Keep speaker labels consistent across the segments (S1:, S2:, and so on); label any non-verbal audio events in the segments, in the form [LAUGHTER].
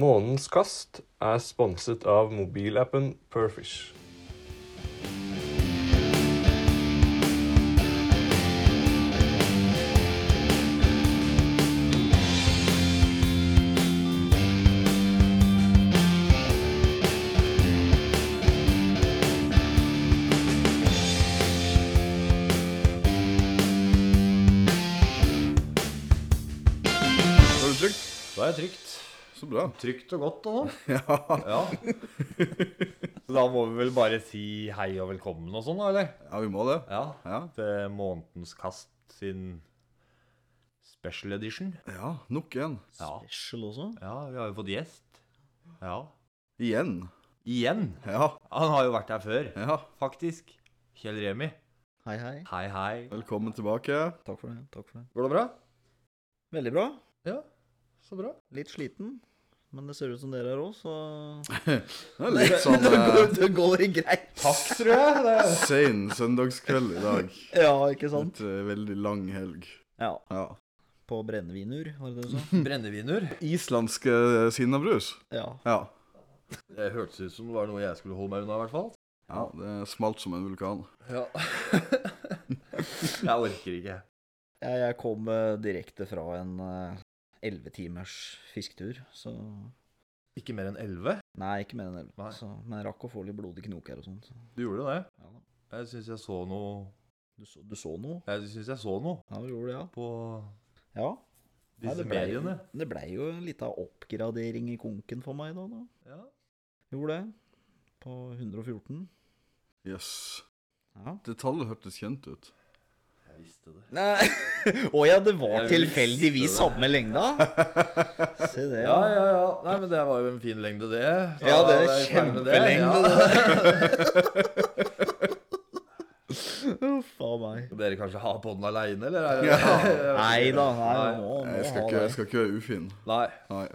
S1: Månens kast er sponset av mobilappen Perfish.
S2: Var det trygt?
S3: Da er jeg trygt.
S2: Så bra.
S3: Trygt og godt og sånn.
S2: Ja.
S3: [LAUGHS] Ja. [LAUGHS] Så da må vi vel bare si hei og velkommen og sånn, da, eller?
S2: ja, vi må det.
S3: Ja.
S2: Ja.
S3: Til månedens kast sin special edition.
S2: ja nok en.
S3: Ja.
S4: Special også?
S3: ja, vi har jo fått gjest. Ja.
S2: Igjen.
S3: Igjen.
S2: Ja.
S3: Han har jo vært her før,
S2: ja.
S3: faktisk. Kjell Remi.
S4: Hei, hei.
S3: Hei, hei.
S2: Velkommen tilbake.
S4: Takk for det. takk for det.
S3: Går det bra?
S4: Veldig bra.
S3: Ja. Så bra.
S4: Litt sliten, men det ser ut som dere er òg, så
S2: Det er litt
S4: [LAUGHS]
S2: sånn eh,
S4: det går greit.
S3: Takk, tror jeg. Det er
S2: sen søndagskveld i
S4: [LAUGHS]
S2: dag.
S4: Ja, ikke sant?
S2: Et eh, veldig lang helg.
S4: Ja.
S2: Ja.
S4: På brennevinur, var det det du sa?
S3: brenneviner.
S2: Islandsk
S4: eh,
S2: sinnabrus.
S4: Ja.
S2: Ja.
S3: Det hørtes ut som det var noe jeg skulle holde meg unna, i hvert fall.
S2: ja. Det smalt som en vulkan.
S3: Ja. jeg orker ikke.
S4: Jeg, jeg kom eh, direkte fra en eh, elleve timers fisketur, så
S3: Ikke mer enn 11?
S4: Nei, ikke mer enn elleve.
S3: Nei.
S4: så- Men jeg rakk å få litt blodige knoker og sånt. så-
S3: Du gjorde det?
S4: Ja da.
S3: Jeg syns jeg så noe
S4: Du så, du så noe?
S3: Jeg syns jeg så noe
S4: Ja, du gjorde det, ja.
S3: på
S4: Ja. Nei,
S3: disse
S4: det ble-
S3: mediene.
S4: Det blei jo en lita oppgradering i konken for meg da. da.
S3: Ja.
S4: Gjorde det. På 114.
S2: Jøss. Yes.
S4: Ja.
S2: Det tallet hørtes kjent ut.
S3: Jeg visste det.
S4: Nei. [LAUGHS] Å ja, det var
S3: Jeg
S4: tilfeldigvis
S3: visste det.
S4: samme
S2: [LAUGHS]
S4: lengda. Se det,
S3: Ja,
S4: ja.
S3: ja, ja. Nei, men det var jo en fin lengde, det. Så
S4: Ja, det er
S3: da jeg ferdig med det.
S4: [LAUGHS] Uff a meg.
S3: Ja. Dere kanskje har på den aleine, eller? Er det- [LAUGHS]
S4: Nei da, nei, må, må
S2: Jeg skal
S4: ha
S2: ikke, jeg
S4: det.
S2: skal ikke være ufin.
S3: Nei.
S2: Nei.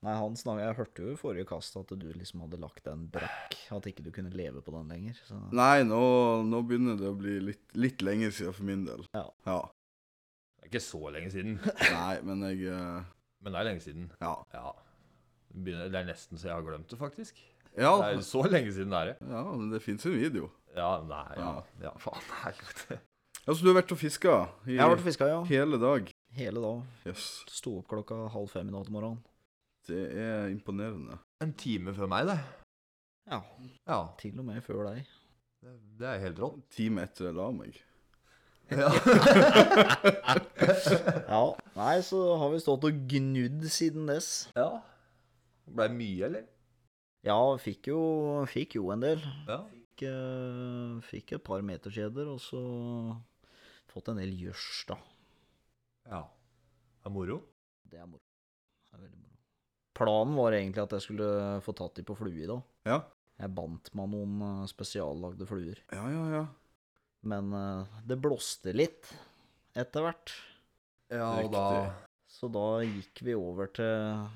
S4: Nei, han snak, Jeg hørte jo i forrige kast at du liksom hadde lagt den brakk. At ikke du kunne leve på den lenger. Så.
S2: Nei, nå, nå begynner det å bli litt, litt lenge siden for min del.
S4: Ja.
S2: ja.
S3: Det er ikke så lenge siden,
S2: Nei, men jeg eh,
S3: men det er lenge siden.
S2: Ja.
S3: Ja. Det begynner- Det er nesten så jeg har glemt det, faktisk.
S2: Ja,
S3: Det er så lenge siden det er. det.
S2: ja men det fins en video.
S3: Ja, nei, ja.
S2: Ja.
S3: Ja, faen. Helvete.
S2: Altså, du har vært og fiska i
S4: Jeg har vært og fiska, ja.
S2: hele dag.
S4: Hele dag.
S2: Jøss. Yes.
S4: Sto opp klokka halv fem i natt morgen.
S2: Det er imponerende.
S3: En time før meg, det.
S4: Ja,
S3: Ja,
S4: til og med før deg.
S3: det, det er helt [LAUGHS] rått.
S2: Time etter jeg la meg.
S3: Ja.
S4: Ja, Nei, så har vi stått og gnudd siden dess.
S3: ja. Blei mye, eller?
S4: Ja, fikk jo, fikk jo en del.
S3: Ja.
S4: Fikk, eh, fikk et par meterskjeder, og så fått en del gjørs, da.
S3: ja. Det er moro.
S4: Det er moro. Det er veldig moro. Planen var egentlig at jeg skulle få tatt de på flue i dag.
S2: Ja.
S4: Jeg bandt meg noen eh, spesiallagde fluer.
S2: Ja, ja, ja.
S4: Men eh, det blåste litt etter hvert.
S3: Ja, og da
S2: Riktig.
S4: Så da gikk vi over til,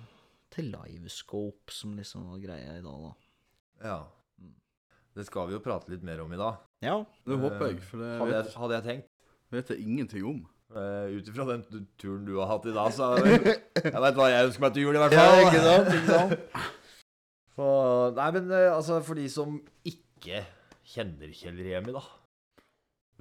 S4: til livescope, som liksom var greia i dag, da.
S3: Ja. Mm. Det skal vi jo prate litt mer om i dag.
S4: Ja.
S2: Det håper
S3: Eh,
S2: jeg, for det
S3: Hadde jeg,
S2: vet,
S3: hadde jeg tenkt.
S2: vet jeg ingenting om.
S3: Uh, Ut ifra den t- turen du har hatt i dag, så er [LAUGHS] det- Jeg veit hva jeg ønsker meg til jul, i hvert
S4: Ja,
S3: fall.
S4: [LAUGHS] ikke sant? Ikke sant?
S3: Så, nei, men eh, altså, for de som ikke kjenner Kjell Remi, da.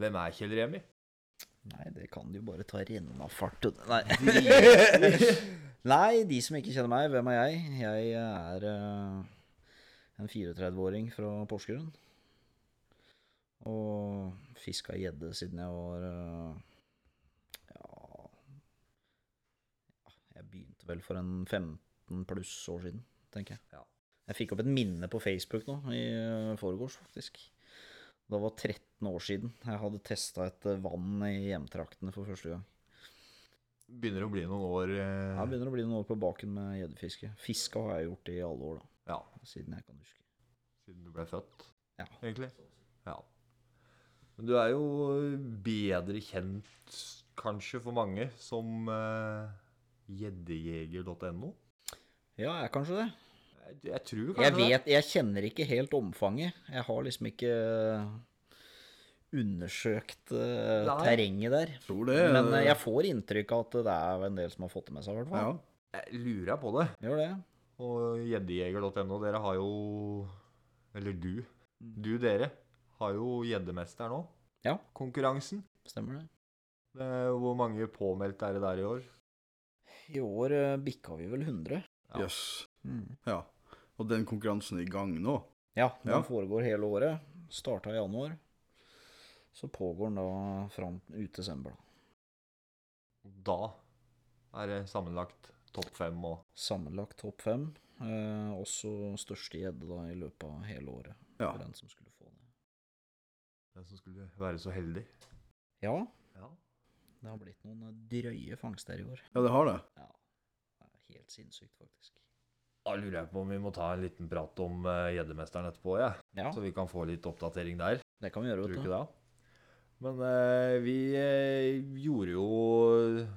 S3: Hvem er Kjell Remi? [LAUGHS]
S4: Nei, det kan du jo bare ta renna fart ut. Nei.
S3: Drit.
S4: Nei, de som ikke kjenner meg, hvem er jeg? Jeg er eh, en 34-åring fra Porsgrunn. Og fiska gjedde siden jeg var eh, Ja Jeg begynte vel for en 15 pluss år siden, tenker jeg.
S3: Ja.
S4: Jeg fikk opp et minne på Facebook nå, i eh, forgårs faktisk. Det var 13 år siden jeg hadde testa et eh, vann i hjemtraktene for første gang.
S3: Begynner å bli noen år eh,
S4: Jeg begynner å bli noen år på baken med gjeddefiske. Fiska har jeg gjort i alle år, da.
S3: Ja.
S4: Siden jeg kan huske.
S3: Siden du ble født,
S4: Ja.
S3: egentlig. Ja. Men du er jo eh, bedre kjent, kanskje for mange, som eh, gjeddejeger.no.
S4: Ja, jeg er kanskje det.
S3: jeg, jeg tror kanskje
S4: Jeg vet, jeg kjenner ikke helt omfanget. Jeg har liksom ikke undersøkt eh,
S3: Nei.
S4: terrenget der.
S2: Tror det er
S4: Men eh, jeg får inntrykk av at det er en del som har fått det med seg, i hvert
S2: Ja.
S4: fall.
S3: det. Jeg lurer på det.
S4: Gjør det.
S3: Og gjeddejeger.no, dere har jo Eller du. Du, dere, har jo Gjeddemester nå.
S4: Mm. Ja.
S3: Konkurransen.
S4: Stemmer det.
S3: Det er jo Hvor mange påmeldte er det der i år?
S4: I år eh, bikka vi vel 100.
S3: Ja.
S2: Jøss. Ja. Og den konkurransen er i gang nå?
S4: Ja, den
S2: Ja.
S4: foregår hele året. Starta i januar. Så pågår den da fram ut desember, da.
S3: Da er det sammenlagt topp fem og
S4: Sammenlagt topp fem. Eh, også største gjedde da i løpet av hele året.
S2: Ja.
S4: For den som skulle få det.
S3: den som skulle være så heldig.
S4: Ja,
S3: Ja.
S4: det har blitt noen eh, drøye fangster i år.
S2: Ja, det har det.
S4: Ja, det er helt sinnssykt, faktisk.
S3: Da lurer jeg på om vi må ta en liten prat om eh, Gjeddemesteren etterpå, jeg.
S4: Ja,
S3: Så vi kan få litt oppdatering der.
S4: det kan vi gjøre,
S3: Tror du
S4: vet
S3: ikke
S4: du.
S3: det? Men eh, vi eh, gjorde jo eh,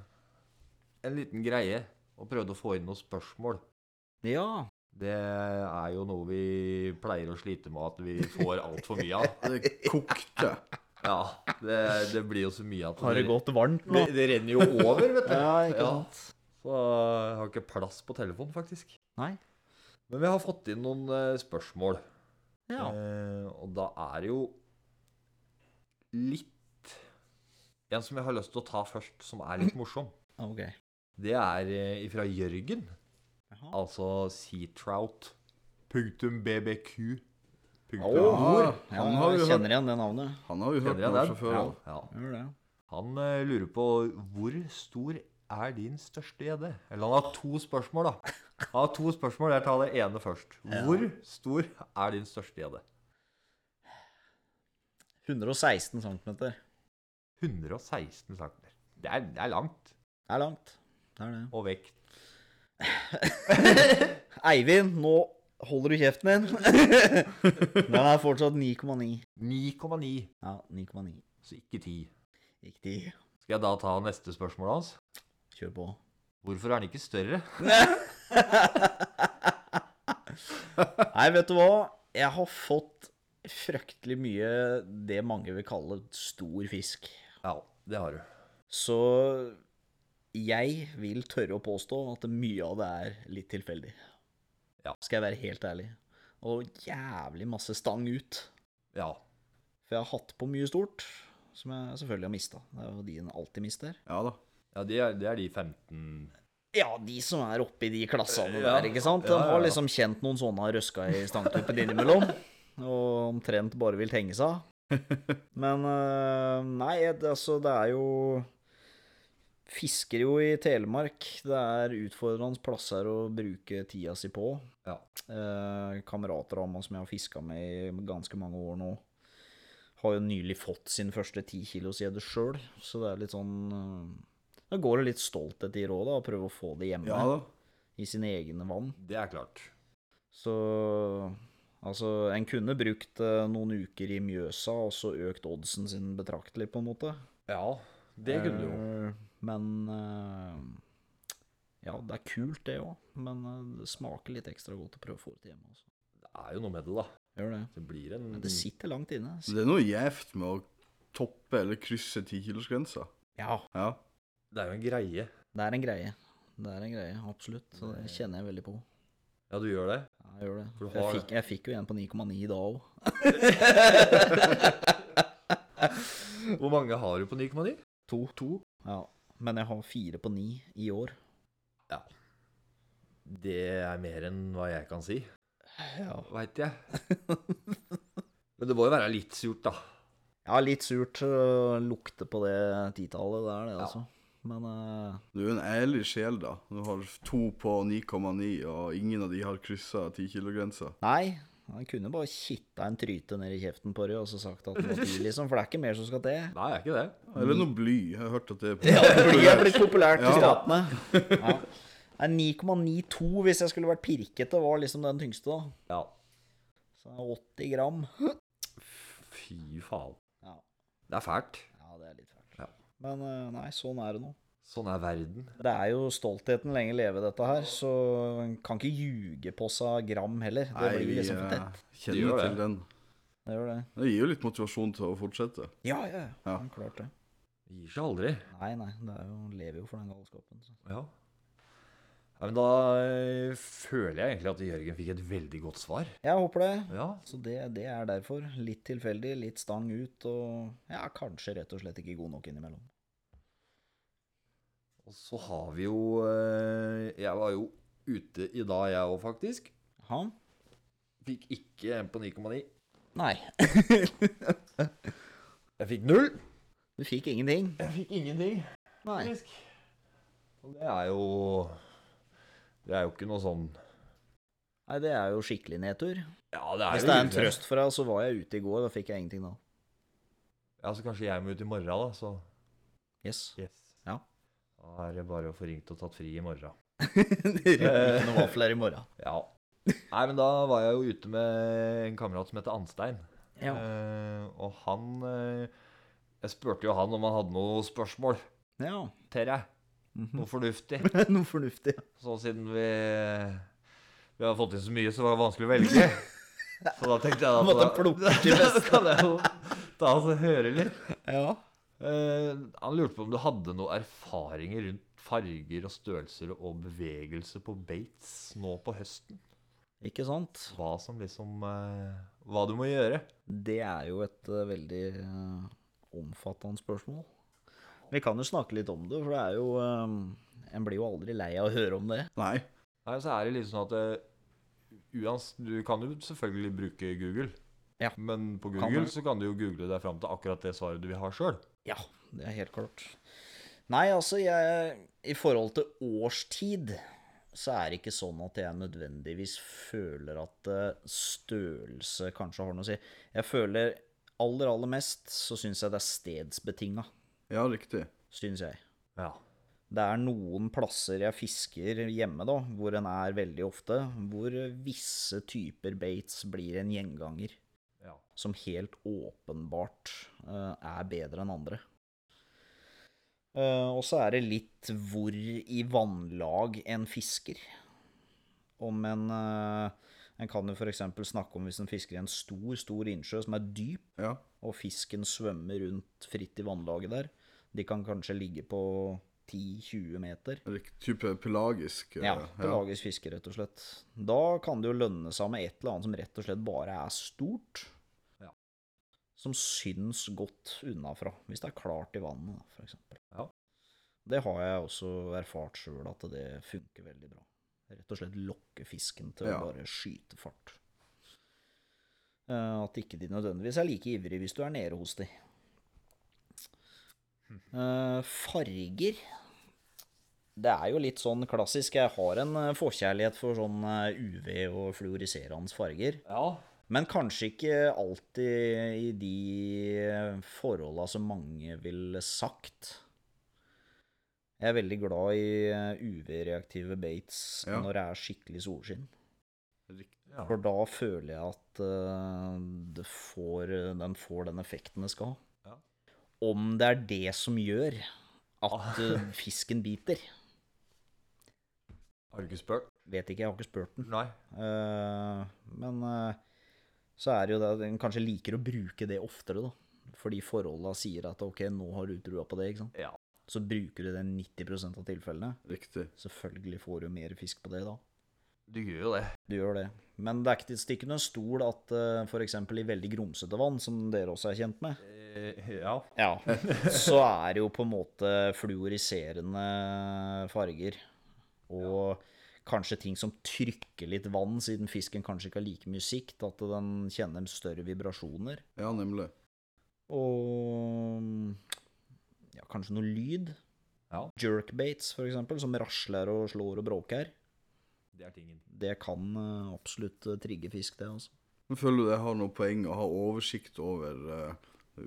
S3: en liten greie og prøvde å få inn noen spørsmål.
S4: Ja,
S3: Det er jo noe vi pleier å slite med at vi får altfor mye av.
S4: [LAUGHS]
S2: Det kokte.
S3: Ja, det, det blir jo så mye at
S4: har det gått varmt
S3: Det,
S4: nå?
S3: det renner jo over, vet du.
S4: ikke
S3: Ja.
S4: sant.
S3: Så jeg har ikke plass på telefonen, faktisk.
S4: Nei.
S3: Men vi har fått inn noen eh, spørsmål.
S4: Ja.
S3: Eh, og da er det jo litt En som jeg har lyst til å ta først, som er litt morsom.
S4: Ok.
S3: Det er eh, fra Jørgen,
S4: Jaha.
S3: altså seatrout. Punktum bbq.
S2: Ja,
S3: Punktum.
S4: Ja,
S2: han har
S4: jeg
S2: jo hørt,
S4: kjenner igjen det navnet.
S2: han har jo hørt
S3: Kjenner jeg
S2: noe
S3: den?
S2: fra før av.
S3: Ja.
S4: Gjør det.
S3: Han eh, lurer på hvor stor er din største gjedde? Eller han har to spørsmål, da. Han har to spørsmål, Jeg tar det ene først. Hvor stor er din største E gjedde?
S4: 116 cm. Det
S3: 116 cm. Det er, det er langt.
S4: er langt. Det er det.
S3: Og vekt.
S4: Eivind, nå holder du kjeften din. [LAUGHS] Den er fortsatt 9,9.
S3: 9,9,
S4: Ja, 9,9.
S3: så ikke 10.
S4: Riktig.
S3: Skal jeg da ta neste spørsmål hans?
S4: Kjør på.
S3: Hvorfor er den ikke større?
S4: Nei, vet du hva? Jeg har fått fryktelig mye det mange vil kalle stor fisk.
S3: Ja, det har du.
S4: Så jeg vil tørre å påstå at mye av det er litt tilfeldig.
S3: Ja.
S4: Skal jeg være helt ærlig. Og jævlig masse stang ut.
S3: Ja.
S4: For jeg har hatt på mye stort, som jeg selvfølgelig har mista. Det er jo de en alltid mister.
S2: Ja da.
S3: ja det, er, det er de 15
S4: Ja, de som er oppe i de klassene
S3: Ja.
S4: der, ikke sant. De
S3: Ja, ja,
S4: har
S3: ja.
S4: liksom kjent noen sånne røska i stangtuppen innimellom. Og omtrent bare vil henge
S3: [LAUGHS]
S4: seg. Men eh, nei, det- altså det er jo Fisker jo i Telemark. Det er utfordrende plasser å bruke tida si på.
S3: Ja.
S4: Eh, kamerater av meg som jeg har fiska med i ganske mange år nå, har jo nylig fått sin første ti kilos gjedde sjøl, så det er litt sånn eh, Da går det litt stolthet i rådet å prøve å få det hjemme
S2: Ja da.
S4: i sine egne vann.
S3: Det er klart.
S4: Så altså, en kunne brukt eh, noen uker i Mjøsa og så økt oddsen sin betraktelig, på en måte.
S3: Ja, det kunne du jo.
S4: Eh, Men eh, Ja, det er kult, det òg, men eh, det smaker litt ekstra godt å prøve å få det til hjemme. Også.
S3: Det er jo noe med det, da.
S4: Gjør det.
S3: Det blir en
S4: Men det sitter langt inne. altså.
S2: Så Det er noe gjevt med å toppe eller krysse tikilosgrensa.
S4: Ja.
S2: Ja.
S3: Det er jo en greie.
S4: Det er en greie. Det er en greie, absolutt. Så det kjenner jeg veldig på.
S3: Ja, du gjør det? [LAUGHS]
S4: Ja, jeg gjør det.
S3: For du
S4: Jeg
S3: har-
S4: fikk, jeg fikk jo en på 9,9 i dag òg.
S3: Hvor mange har du på 9,9?
S4: To. Ja. Men jeg har fire på ni i år.
S3: Det er mer enn hva jeg kan si,
S4: Ja.
S3: veit jeg. [LAUGHS] Men det må jo være litt surt, da.
S4: litt surt å lukte på det titallet. Det er det,
S3: Ja.
S4: altså. Men eh,
S2: Du er en ærlig sjel, da. Du har to på 9,9, og ingen av de har kryssa tikilogrensa.
S4: nei. Han kunne bare kitta en tryte ned i kjeften på deg og så sagt at det var ti, liksom. For det er ikke mer som skal til.
S3: Nei, er ikke det.
S2: Eller noe bly. Jeg har hørt at det er
S4: Ja, det blir jævlig populært i
S2: Ja.
S4: statene. Ja. Det er 9,92 hvis jeg skulle vært pirkete, var liksom den tyngste, da.
S3: Ja.
S4: Så det er 80 gram.
S3: Fy faen.
S4: Ja.
S3: Det er fælt.
S4: Ja, det er litt fælt.
S3: Ja.
S4: Men eh, nei, sånn er det nå.
S3: Sånn er verden.
S4: Det er jo stoltheten lenge leve, dette her, så en kan ikke ljuge på seg gram heller. Det
S2: Nei,
S4: blir
S2: vi
S4: liksom for
S2: eh,
S4: tett.
S3: Det gjør
S2: kjenner
S3: det.
S2: til den.
S4: Det gjør det.
S2: Det gir jo litt motivasjon til å fortsette.
S4: Ja, ja, ja.
S2: Ja.
S4: Klart det.
S3: Gir seg aldri.
S4: Nei, nei, det er jo, lever jo for den galskapen. Så.
S3: Ja. Ja, men da eh, føler jeg egentlig at Jørgen fikk et veldig godt svar.
S4: Jeg håper det.
S3: Ja,
S4: Så det, det er derfor. Litt tilfeldig, litt stang ut, og ja, kanskje rett og slett ikke god nok innimellom.
S3: Og så har vi jo eh, Jeg var jo ute i dag, jeg òg, faktisk.
S4: Ha?
S3: Fikk ikke en på 9,9.
S4: Nei, [LAUGHS]
S3: Jeg fikk null.
S4: du fikk ingenting.
S3: Jeg fikk ingenting,
S4: Nei.
S3: faktisk. Og det er jo Det er jo ikke noe sånn
S4: Nei, det er jo skikkelig nedtur.
S3: Ja, det er
S4: Hvis
S3: jo
S4: det er en
S3: ille.
S4: trøst for deg, så var jeg ute i går, da fikk jeg ingenting da.
S3: Ja, så kanskje jeg må ut i morgen, da. Så
S4: Yes. Ja.
S3: Da er det bare å få ringt og tatt fri i morgen.
S4: [LAUGHS] det rømmer noen vafler i morgen.
S3: Ja. Nei, men da var jeg jo ute med en kamerat som heter Anstein.
S4: Ja.
S3: Eh, og han eh, Jeg spurte jo han om han hadde noe spørsmål
S4: ja. [LAUGHS]
S3: til deg.
S4: Mhm.
S3: Noe fornuftig.
S4: Noe fornuftig.
S3: Så siden vi, vi har fått inn så mye, så var det vanskelig å velge. Så da tenkte jeg
S4: [LAUGHS] Måtte
S3: at
S4: plukke
S3: da,
S4: det
S3: [LAUGHS]
S4: beste.
S3: da kan jeg jo ta oss og høre litt.
S4: Ja.
S3: Eh, han lurte på om du hadde noen erfaringer rundt farger og størrelser og bevegelse på baits nå på høsten.
S4: Ikke sant?
S3: Hva som liksom eh, Hva du må gjøre.
S4: Det er jo et eh, veldig eh, omfattende spørsmål. Vi kan jo snakke litt om det, for det er jo eh, En blir jo aldri lei av å høre om det.
S2: Nei.
S3: Nei, så er det litt sånn at eh, uans, Du kan jo selvfølgelig bruke Google.
S4: Ja.
S3: Men på
S4: Kan
S3: Google
S4: du.
S3: så kan du jo google deg fram til akkurat det svaret du vil ha sjøl.
S4: Ja, det er helt klart. Nei, altså, jeg I forhold til årstid så er det ikke sånn at jeg nødvendigvis føler at eh, størrelse kanskje har noe å si. Jeg føler aller, aller mest så syns jeg det er stedsbetinga,
S2: Ja, riktig.
S4: syns jeg.
S3: Ja.
S4: Det er noen plasser jeg fisker hjemme, da, hvor en er veldig ofte, hvor visse typer baits blir en gjenganger
S3: ja.
S4: som helt åpenbart eh, er bedre enn andre. Eh, og så er det litt hvor i vannlag en fisker. Om en eh, En kan jo f.eks. snakke om hvis en fisker i en stor, stor innsjø som er dyp,
S2: Ja.
S4: og fisken svømmer rundt fritt i vannlaget der. De kan kanskje ligge på 10-20 meter.
S2: Riktig type pelagisk. eh,
S4: Ja, pelagisk fiske, rett og slett. Da kan det jo lønne seg med et eller annet som rett og slett bare er stort.
S3: Ja.
S4: Som syns godt unnafra, hvis det er klart i vannet, da, for eksempel.
S3: Ja.
S4: Det har jeg også erfart sjøl, at det funker veldig bra. Rett og slett lokke fisken til
S2: Ja.
S4: å bare skyte fart. Eh, At ikke de nødvendigvis er like ivrige hvis du er nede hos de.
S3: Hm.
S4: Eh, farger det er jo litt sånn klassisk. Jeg har en eh, forkjærlighet for sånn eh, UV og fluoriserende farger.
S3: ja.
S4: Men kanskje ikke alltid i de forholda som mange ville sagt. Jeg er veldig glad i eh, UV-reaktive baits
S2: Ja.
S4: når det er skikkelig solskinn.
S2: Riktig.
S3: Ja.
S4: For da føler jeg at eh, det får, den får den effekten det skal ha.
S3: Ja.
S4: Om det er det som gjør at eh, fisken biter,
S3: Har du ikke spurt?
S4: vet ikke, jeg har ikke spurt den.
S3: Nei.
S4: Eh, men eh, så er det jo det at en kanskje liker å bruke det oftere, da. Fordi forholda sier at ok, nå har du trua på det, ikke sant.
S3: Ja.
S4: Så bruker du det 90 av tilfellene.
S2: Riktig.
S4: Selvfølgelig får du mer fisk på det da.
S3: Du gjør jo det.
S4: Du gjør det. Men det er ikke til å stikke under stol at eh, for f.eks. i veldig grumsete vann, som dere også er kjent med,
S3: Eh, ja.
S4: ja, så er det jo på en måte fluoriserende farger. Og kanskje ting som trykker litt vann, siden fisken kanskje ikke har like mye sikt, at den kjenner større vibrasjoner.
S2: Ja, nemlig.
S4: Og ja, kanskje noe lyd.
S3: Ja.
S4: Jerkbaits, for eksempel, som rasler og slår og bråker.
S3: Det er tingen.
S4: Det kan eh, absolutt eh, trigge fisk, det, altså.
S2: Men Føler du det har noe poeng å ha oversikt over eh,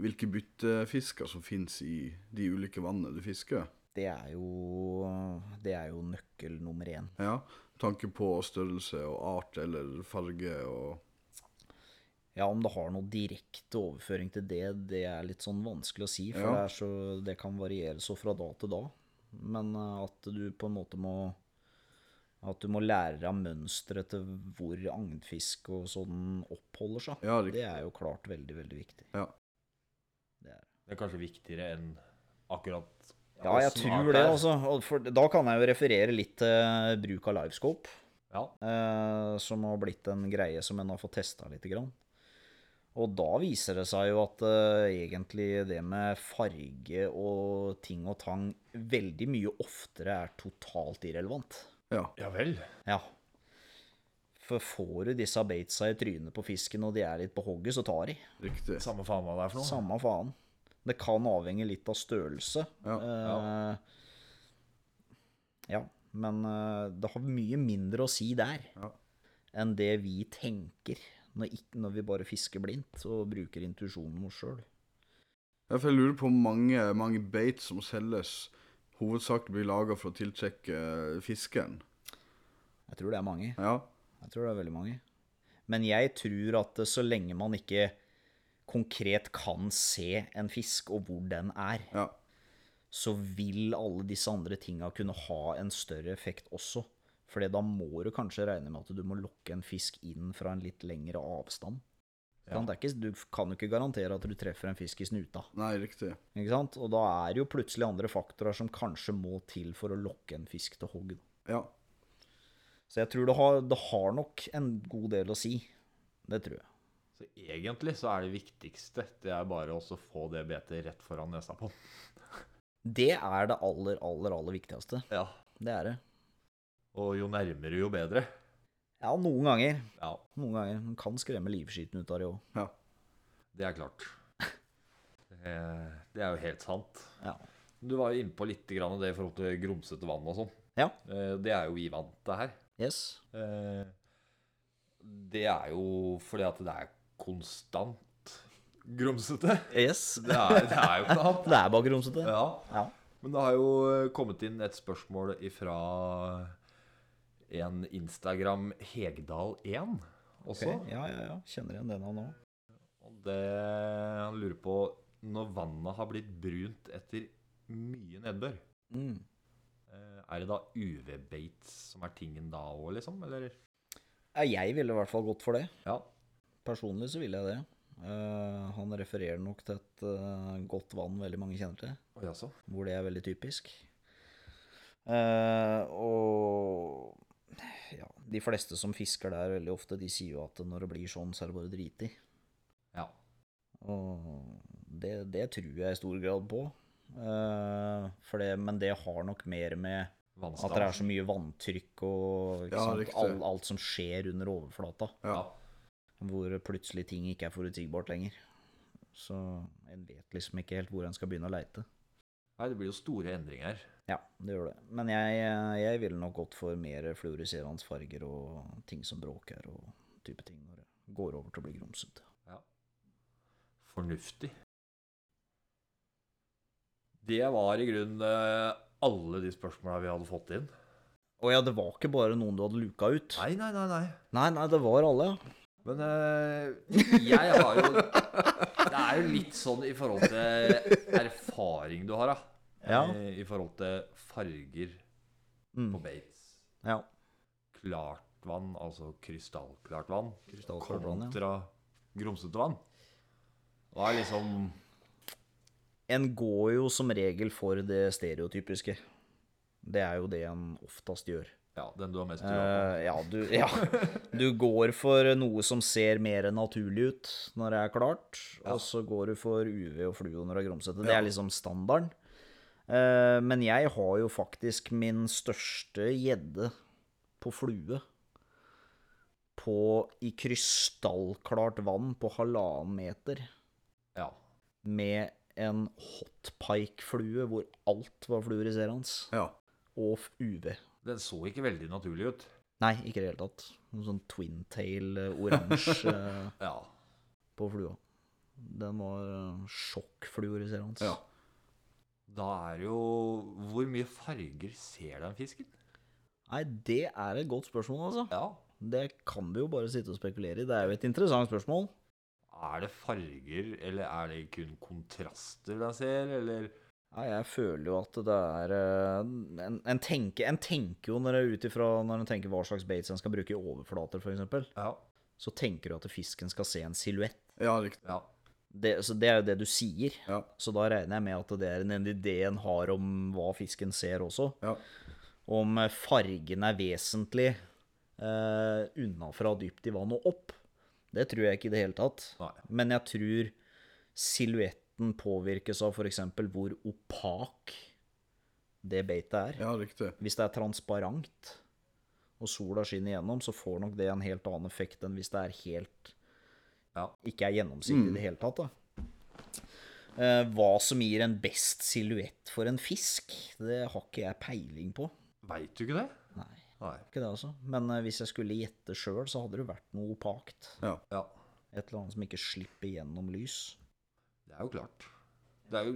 S2: hvilke byttefisker som finnes i de ulike vannene du fisker?
S4: Det er jo, det er jo nøkkel nummer én.
S2: Ja, tanke på størrelse og art eller farge og
S4: Ja, om det har noe direkte overføring til det, det er litt sånn vanskelig å si, for
S2: Ja.
S4: det, er så, det kan variere så fra dag til dag. Men eh, at du på en måte må At du må lære deg mønsteret til hvor agnfisk og sånn oppholder seg,
S2: Ja, riktig.
S4: det er jo klart veldig, veldig viktig.
S2: Ja.
S4: Det er.
S3: Det er kanskje viktigere enn akkurat
S4: Ja, jeg
S3: Åssen
S4: tror
S3: art
S4: det,
S3: er.
S4: altså. Og For, da kan jeg jo referere litt til bruk av livescope,
S3: Ja.
S4: eh, som har blitt en greie som en har fått testa litt. Grann. Og da viser det seg jo at eh, egentlig det med farge og ting og tang veldig mye oftere er totalt irrelevant.
S2: Ja.
S3: ja vel.
S4: Ja. For får du disse beitsa i trynet på fisken, og de er litt på hogget, så tar de.
S2: Riktig.
S3: Samme faen hva
S2: Sånn,
S3: det er for noe.
S4: Samme faen. Det kan avhenge litt av størrelse.
S2: Ja,
S4: Eh, ja, men eh, det har mye mindre å si der
S2: Ja.
S4: enn det vi tenker når, ikk- når vi bare fisker blindt og bruker intuisjonen vår sjøl.
S2: Ja, for Jeg lurer på om mange, mange beit som selges, hovedsakelig blir laga for å tiltrekke eh, fisken.
S4: Jeg tror det er mange.
S2: Ja.
S4: Jeg tror det er veldig mange. Men jeg tror at eh, så lenge man ikke konkret kan se en fisk og hvor den er,
S2: ja.
S4: så vil alle disse andre tinga kunne ha en større effekt også. Fordi da må du kanskje regne med at du må lokke en fisk inn fra en litt lengre avstand.
S3: Ja.
S4: Sant? Det er ikke, du kan jo ikke garantere at du treffer en fisk i snuta.
S2: Nei, riktig.
S4: Ikke sant? Og da er det jo plutselig andre faktorer som kanskje må til for å lokke en fisk til hogg. da.
S2: Ja.
S4: Så jeg tror det har, det har nok en god del å si. Det tror jeg.
S3: Så egentlig så er det viktigste det er bare også å få det betet rett foran nesa på.
S4: Det er det aller, aller, aller viktigste.
S3: Ja.
S4: Det er det.
S3: Og jo nærmere, jo bedre.
S4: Ja, noen ganger.
S3: Ja,
S4: Noen ganger. Man kan skremme livskiten ut av det òg.
S2: ja.
S3: det er klart. Det er- det er jo helt sant.
S4: Ja.
S3: Du var jo innpå litt grann det i forhold til grumsete vann og sånn.
S4: Ja.
S3: Eh, Det er jo vi vant til her.
S4: Yes.
S3: Eh, Det er jo fordi at det er konstant grumsete.
S4: Yes.
S3: [LAUGHS] Det er, det er jo ikke noe annet.
S4: Det er bare grumsete.
S3: Ja.
S4: Ja.
S3: Men det har jo eh, kommet inn et spørsmål ifra en Instagram Hegdal1
S4: Ok,
S3: også.
S4: Ja, ja, ja. Kjenner igjen den han òg.
S3: Og det han lurer på Når vannet har blitt brunt etter mye nedbør,
S4: Mm.
S3: eh, er det da UV-bait som er tingen da òg, liksom? Eller?
S4: Ja, jeg ville i hvert fall gått for det.
S3: Ja.
S4: Personlig så ville jeg det. Eh, han refererer nok til et eh, godt vann veldig mange kjenner til,
S3: Og jeg også.
S4: hvor det er veldig typisk. Eh, og ja, de fleste som fisker der veldig ofte, de sier jo at når det blir sånn, så er det bare drit i.
S3: Ja.
S4: Og det, det tror jeg i stor grad på. Eh, for det, men det har nok mer med At det er så mye vanntrykk og ikke
S2: Ja,
S4: sant?
S2: riktig.
S4: All, alt som skjer under overflata.
S2: Ja.
S4: Hvor plutselig ting ikke er forutsigbart lenger. Så en vet liksom ikke helt hvor en skal begynne å leite.
S3: Nei, det blir jo store endringer.
S4: Ja, det gjør det. Men jeg, jeg ville nok gått for mer fluoriserende farger og ting som bråker og type ting når det går over til å bli grumsete.
S3: Fornuftig. Det var i grunnen eh, alle de spørsmåla vi hadde fått inn.
S4: Å ja, det var ikke bare noen du hadde luka ut?
S3: Nei, nei, nei. nei.
S4: nei, nei det var alle, ja.
S3: Men eh, jeg har jo [LAUGHS] Det er jo litt sånn i forhold til erfaring du har, da.
S4: Ja.
S3: Eh, I forhold til farger
S4: Mm.
S3: på baits.
S4: ja.
S3: Klart vann, altså krystallklart vann,
S4: Krystallklart vann, ja.
S3: kontra grumsete vann. Det er liksom
S4: En går jo som regel for det stereotypiske. Det er jo det en oftest gjør.
S3: Ja, den du har mest trua på.
S4: Eh, ja, du, ja, du går for noe som ser mer naturlig ut når det er klart, og så går du for UV og fluo når det er grumsete. Det er liksom standarden. Eh, men jeg har jo faktisk min største gjedde på flue på, i krystallklart vann på halvannen meter Eh.
S3: Ja.
S4: med en hotpike-flue hvor alt var fluoriserende,
S2: ja.
S4: og f- UV.
S3: Den så ikke veldig naturlig ut.
S4: Nei, ikke i det hele tatt. Noen sånn twintail eh, oransje eh,
S3: Ja.
S4: på flua. Den var eh, sjokkfluoriserende.
S2: Ja.
S3: Da er jo Hvor mye farger ser den fisken?
S4: Nei, det er et godt spørsmål, altså.
S3: Ja.
S4: Det kan vi jo bare sitte og spekulere i. Det er jo et interessant spørsmål.
S3: Er det farger, eller er det kun kontraster den ser, eller
S4: Nei, jeg føler jo at det er eh, En, en, tenker, en tenker jo når det er ut ifra når en tenker hva slags baits en skal bruke i overflater, f.eks.,
S3: Ja.
S4: så tenker du at fisken skal se en silhuett.
S2: ja riktig.
S3: ja.
S4: Det, så det er jo det du sier.
S2: Ja.
S4: Så da regner jeg med at det er en idé en har om hva fisken ser også.
S2: ja.
S4: Om fargen er vesentlig eh, unnafra dypt i vann og opp. Det tror jeg ikke i det hele tatt.
S3: Nei.
S4: Men jeg tror silhuetten påvirkes av f.eks. hvor opak det beitet er.
S2: Ja, riktig.
S4: Hvis det er transparent og sola skinner gjennom, så får nok det en helt annen effekt enn hvis det er helt
S3: Ja.
S4: ikke er gjennomsiktig
S2: Mm.
S4: i det hele tatt. Da. Eh, Hva som gir en best silhuett for en fisk, det har ikke jeg peiling på.
S3: Veit du ikke det?
S4: Nei.
S3: Nei.
S4: Ikke det altså. Men eh, hvis jeg skulle gjette sjøl, så hadde det vært noe opakt.
S2: Ja.
S3: Ja.
S4: Et eller annet som ikke slipper gjennom lys.
S3: Det er jo klart. Det er jo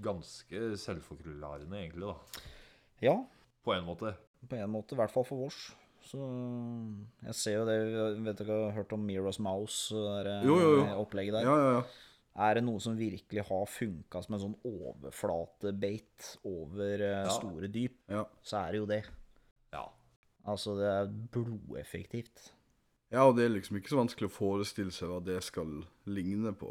S3: ganske selvforklarende, egentlig, da.
S4: Ja,
S3: På en måte.
S4: på en måte, i hvert fall for vårs. Så eh, jeg ser jo det Vet dere har hørt om Miros Mouse og det der,
S2: Jo, jo, jo.
S4: eh, opplegget
S2: ja,
S4: der?
S2: ja, ja.
S4: Er det noe som virkelig har funka som en sånn overflatebeit over eh, store dyp,
S2: Ja,
S4: så er det jo det.
S3: Ja.
S4: Altså, det er blodeffektivt.
S2: ja og det er liksom ikke så vanskelig å forestille seg hva det skal ligne på.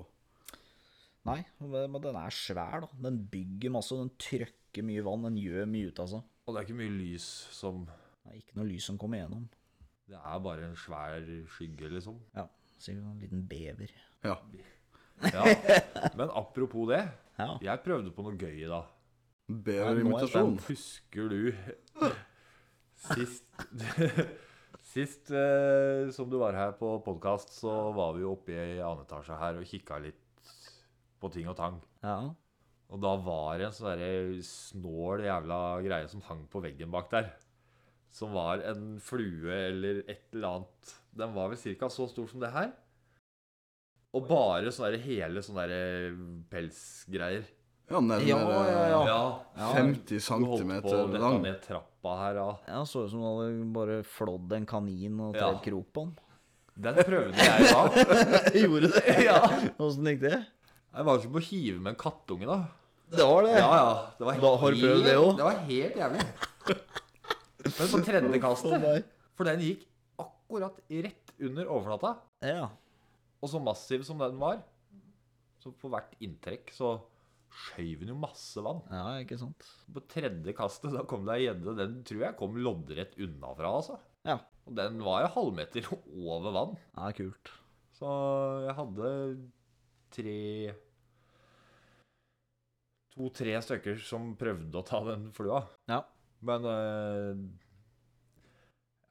S4: Nei, men den er svær, da. Den bygger masse, og den trøkker mye vann. Den gjør mye ut av seg.
S3: Og det er ikke mye lys som
S4: Det er ikke noe lys som kommer gjennom.
S3: Det er bare en svær skygge, liksom.
S4: Ja, sikkert en liten bever.
S2: Ja.
S3: Ja. Men apropos det.
S4: Ja.
S3: Jeg prøvde på noe gøy i dag.
S2: Beverimitasjon.
S3: Husker du sist [LAUGHS] Sist eh, som du var her på podkast, så var vi jo oppe i annen etasje her og kikka litt på ting og tang.
S4: ja.
S3: Og da var det en sånn derre snål jævla greie som hang på veggen bak der. Som var en flue eller et eller annet. Den var vel ca. så stor som det her. Og bare sånne derre hele sånne derre pelsgreier.
S2: Ja, nærmere
S4: Ja, ja,
S3: ja.
S2: 50
S3: Du holdt på å
S2: centimeter
S3: dette
S2: lang.
S3: ned trappa her, ja.
S4: ja så ut som om du hadde bare flådd en kanin og
S3: Ja.
S4: tredd krok på den.
S3: Den prøvde jeg [LAUGHS] da. Gjorde det?
S4: [LAUGHS]
S3: Ja.
S4: Åssen gikk det?
S3: Det var som å hive med en kattunge, da.
S4: Det var det.
S3: Ja, ja. Det var
S4: Hva, har du prøvd det
S3: helt-
S4: også?
S3: Det var helt jævlig. Men på tredje
S4: Å,
S3: kastet
S4: nei.
S3: For den gikk akkurat rett under overflata.
S4: ja.
S3: Og så massiv som den var, så på hvert inntrekk så skjøv den jo masse vann.
S4: ja, ikke sant.
S3: På tredje kastet da kom det ei gjedde. Den tror jeg kom loddrett unnafra, altså.
S4: Ja.
S3: Og den var jo halvmeter over vann.
S4: Ja, kult.
S3: Så jeg hadde tre To-tre stykker som prøvde å ta den flua.
S4: Ja.
S3: Men eh,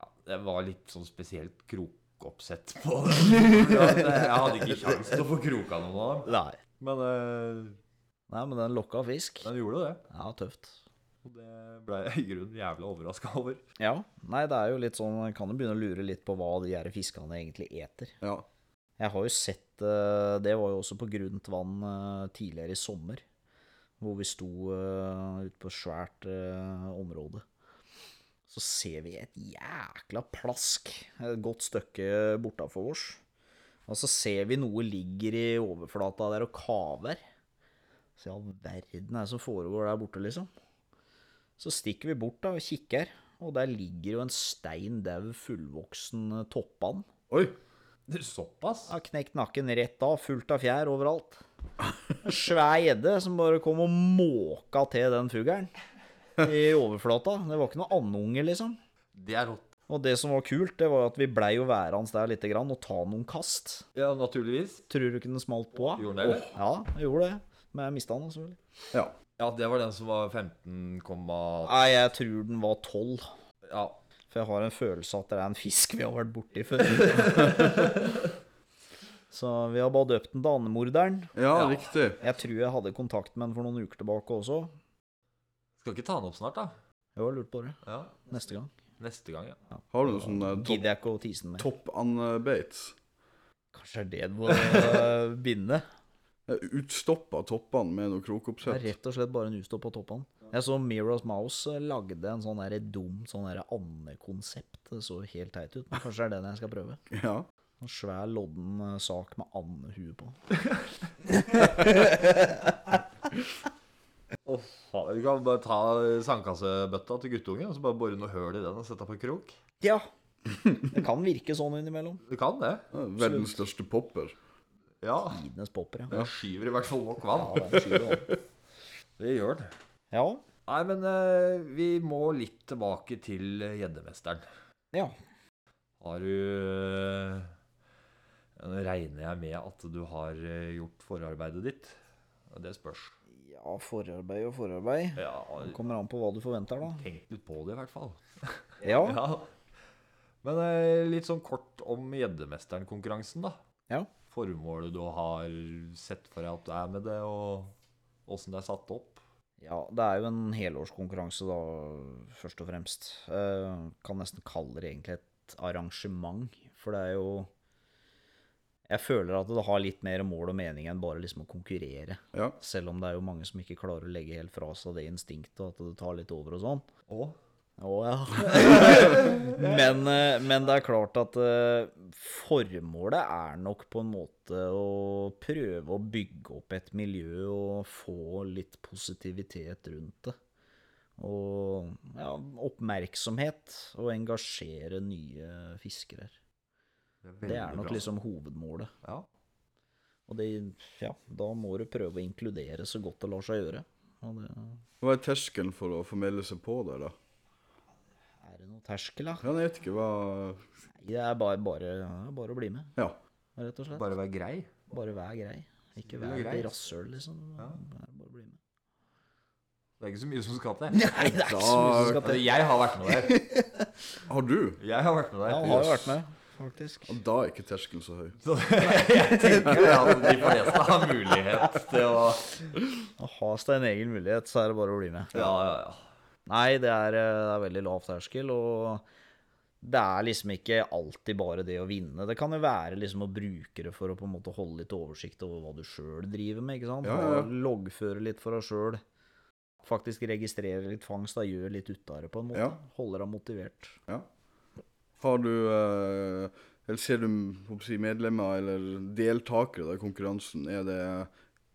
S3: ja, Det var litt sånn spesielt krokoppsett på den. [LAUGHS] Ja, det- Jeg hadde ikke kjangs til å få kroka noen av dem.
S4: Nei.
S3: Men eh,
S4: Nei, men den lokka fisk.
S3: den gjorde det.
S4: Ja, tøft.
S3: Og det ble jeg i grunnen jævla overraska over.
S4: Ja. Nei, det er jo litt sånn Kan jo begynne å lure litt på hva de her fiskene egentlig eter.
S2: Ja.
S4: Jeg har jo sett eh, Det var jo også på grunt vann eh, tidligere i sommer. Hvor vi sto eh, ute på et svært eh, område. Så ser vi et jækla plask et godt stykke bortafor oss. Og så ser vi noe ligger i overflata der og kaver. Så i all verden er det som foregår der borte, liksom. Så stikker vi bort da og kikker, og der ligger jo en stein daud fullvoksen eh, toppann.
S2: Oi.
S3: Det er Såpass?
S4: Ja, knekt nakken rett av, fullt av fjær overalt. En svær gjedde som bare kom og måka til den fuglen i overflata. Det var ikke noe andunge, liksom.
S3: Det er rått.
S4: Og det som var kult, det var at vi blei jo værende der lite grann og ta noen kast.
S3: Ja, naturligvis.
S4: Tror du ikke den smalt på? da?
S3: Gjorde den det?
S4: Åh, Ja, jeg gjorde det. Men jeg mista den, selvfølgelig.
S2: Ja.
S3: Ja, det var den som var 15,8
S4: Nei, jeg tror den var tolv.
S3: Ja.
S4: For jeg har en følelse at det er en fisk vi har vært borti før. [LAUGHS] Så vi har bare døpt den til Andemorderen.
S2: ja, riktig.
S4: Jeg tror jeg hadde kontakt med den for noen uker tilbake også.
S3: Skal ikke ta den opp snart, da?
S4: Jeg har lurt på det.
S3: Ja.
S4: Neste gang.
S3: Neste gang, ja.
S2: Har du noe sånn eh, topp,
S4: Gidder jeg ikke å tease den mer.
S2: topp eh, Anne Bates?
S4: Kanskje det er det du må øh, [LAUGHS] binde.
S2: Utstoppa toppene med noe
S4: Det er
S2: krokoppsett?
S4: rett og slett bare en utstopp på toppen. Jeg så Miros Mouse øh, lagde en sånn der dum sånn der andekonsept. Det så helt teit ut, men kanskje det er den jeg skal prøve.
S2: [LAUGHS] Ja.
S4: En svær, lodden øh, sak med andehue på.
S3: Å, faen. Du kan bare ta sandkassebøtta til guttungen og så bare bore noe høl i den og sette på krok.
S4: Ja. Det kan virke sånn innimellom.
S3: Du kan det.
S2: Verdens største popper.
S3: Ja.
S4: Tidenes popper, ja.
S3: Den skyver i hvert fall nok vann.
S4: Ja, den skyver opp.
S3: Det gjør den.
S4: ja.
S3: Nei, men eh, vi må litt tilbake til gjeddemesteren.
S4: Ja.
S3: Har du eh, Nå regner jeg med at du har eh, gjort forarbeidet ditt. Det spørs.
S4: Ja, forarbeid og forarbeid.
S3: Ja,
S4: Det kommer an på hva du forventer, da.
S3: tenk litt på det, i hvert fall.
S4: Ja.
S3: Ja. Men eh, litt sånn kort om Gjeddemesteren-konkurransen, da.
S4: ja.
S3: Formålet du har sett for deg at du er med det, og åssen det er satt opp.
S4: Ja, det er jo en helårskonkurranse, da, først og fremst. Eh, kan nesten kalle det egentlig et arrangement, for det er jo Jeg føler at det har litt mer mål og mening enn bare liksom å konkurrere.
S2: Ja.
S4: Selv om det er jo mange som ikke klarer å legge helt fra seg det instinktet, og at det tar litt over og sånn.
S3: Og
S4: Å ja. men, eh, men det er klart at eh, formålet er nok på en måte å prøve å bygge opp et miljø og få litt positivitet rundt det. Og ja, oppmerksomhet, og engasjere nye fiskere. Det er nok liksom hovedmålet.
S3: Ja.
S4: Og det, ja, da må du prøve å inkludere så godt det lar seg gjøre. Og det,
S2: Hva er terskelen for å få melde seg på der, da?
S4: er det noe terskel, da?
S2: Ja, nei, jeg vet ikke hva
S4: Nei, Det er bare, bare, bare å bli med,
S2: Ja.
S4: rett og slett.
S3: Bare være grei.
S4: Bare vær grei. Ikke
S3: Snill og
S4: vær
S3: grei.
S4: et rasshøl, liksom. Bare, bare bli med.
S3: Det er ikke så mye som skal til.
S4: [LAUGHS] Nei, [LAUGHS] det er ikke så mye som
S2: Da
S4: skal
S3: Altså,
S4: til.
S3: jeg har vært med der.
S2: Har du?
S3: Jeg har vært med
S4: [LAUGHS] Ja,
S3: der.
S4: han har jo vært med, faktisk.
S2: Ja, Da er ikke terskelen så høy.
S3: Så jeg tenker jo at de fleste har mulighet til å
S4: Og Has det en egen mulighet, så er det bare å bli med.
S3: Ja, ja, ja.
S4: Nei, det er, eh, det er veldig lav terskel, og det er liksom ikke alltid bare det å vinne. Det kan jo være liksom å bruke det for å på en måte holde litt oversikt over hva du sjøl driver med, ikke sant?
S2: Ja, ja, ja.
S4: Og Loggføre litt for deg sjøl. Faktisk registrere litt fangst, da gjør litt ut av det på en måte.
S2: Ja.
S4: Holder deg motivert.
S2: Ja. Har du eh, Eller ser du håper jeg å si, medlemmer eller deltakere da, i konkurransen? Er det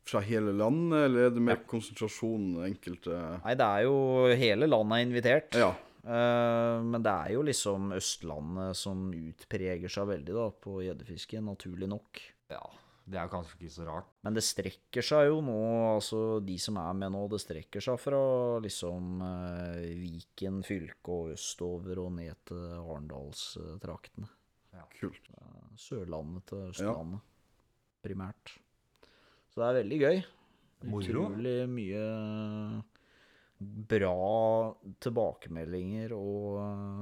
S2: fra hele landet, eller er det mer konsentrasjon enkelte
S4: Nei, det er jo hele landet er invitert.
S2: Ja.
S4: Eh, men det er jo liksom Østlandet som utpreger seg veldig da, på gjeddefiske, naturlig nok.
S3: ja. Det er kanskje ikke så rart.
S4: Men det strekker seg jo nå, altså de som er med nå, det strekker seg fra liksom eh, Viken fylke og østover og ned til Arendalstraktene.
S2: Kult.
S4: Sørlandet til Østlandet, primært. Så det er veldig gøy.
S3: Moro.
S4: Utrolig mye bra tilbakemeldinger og eh,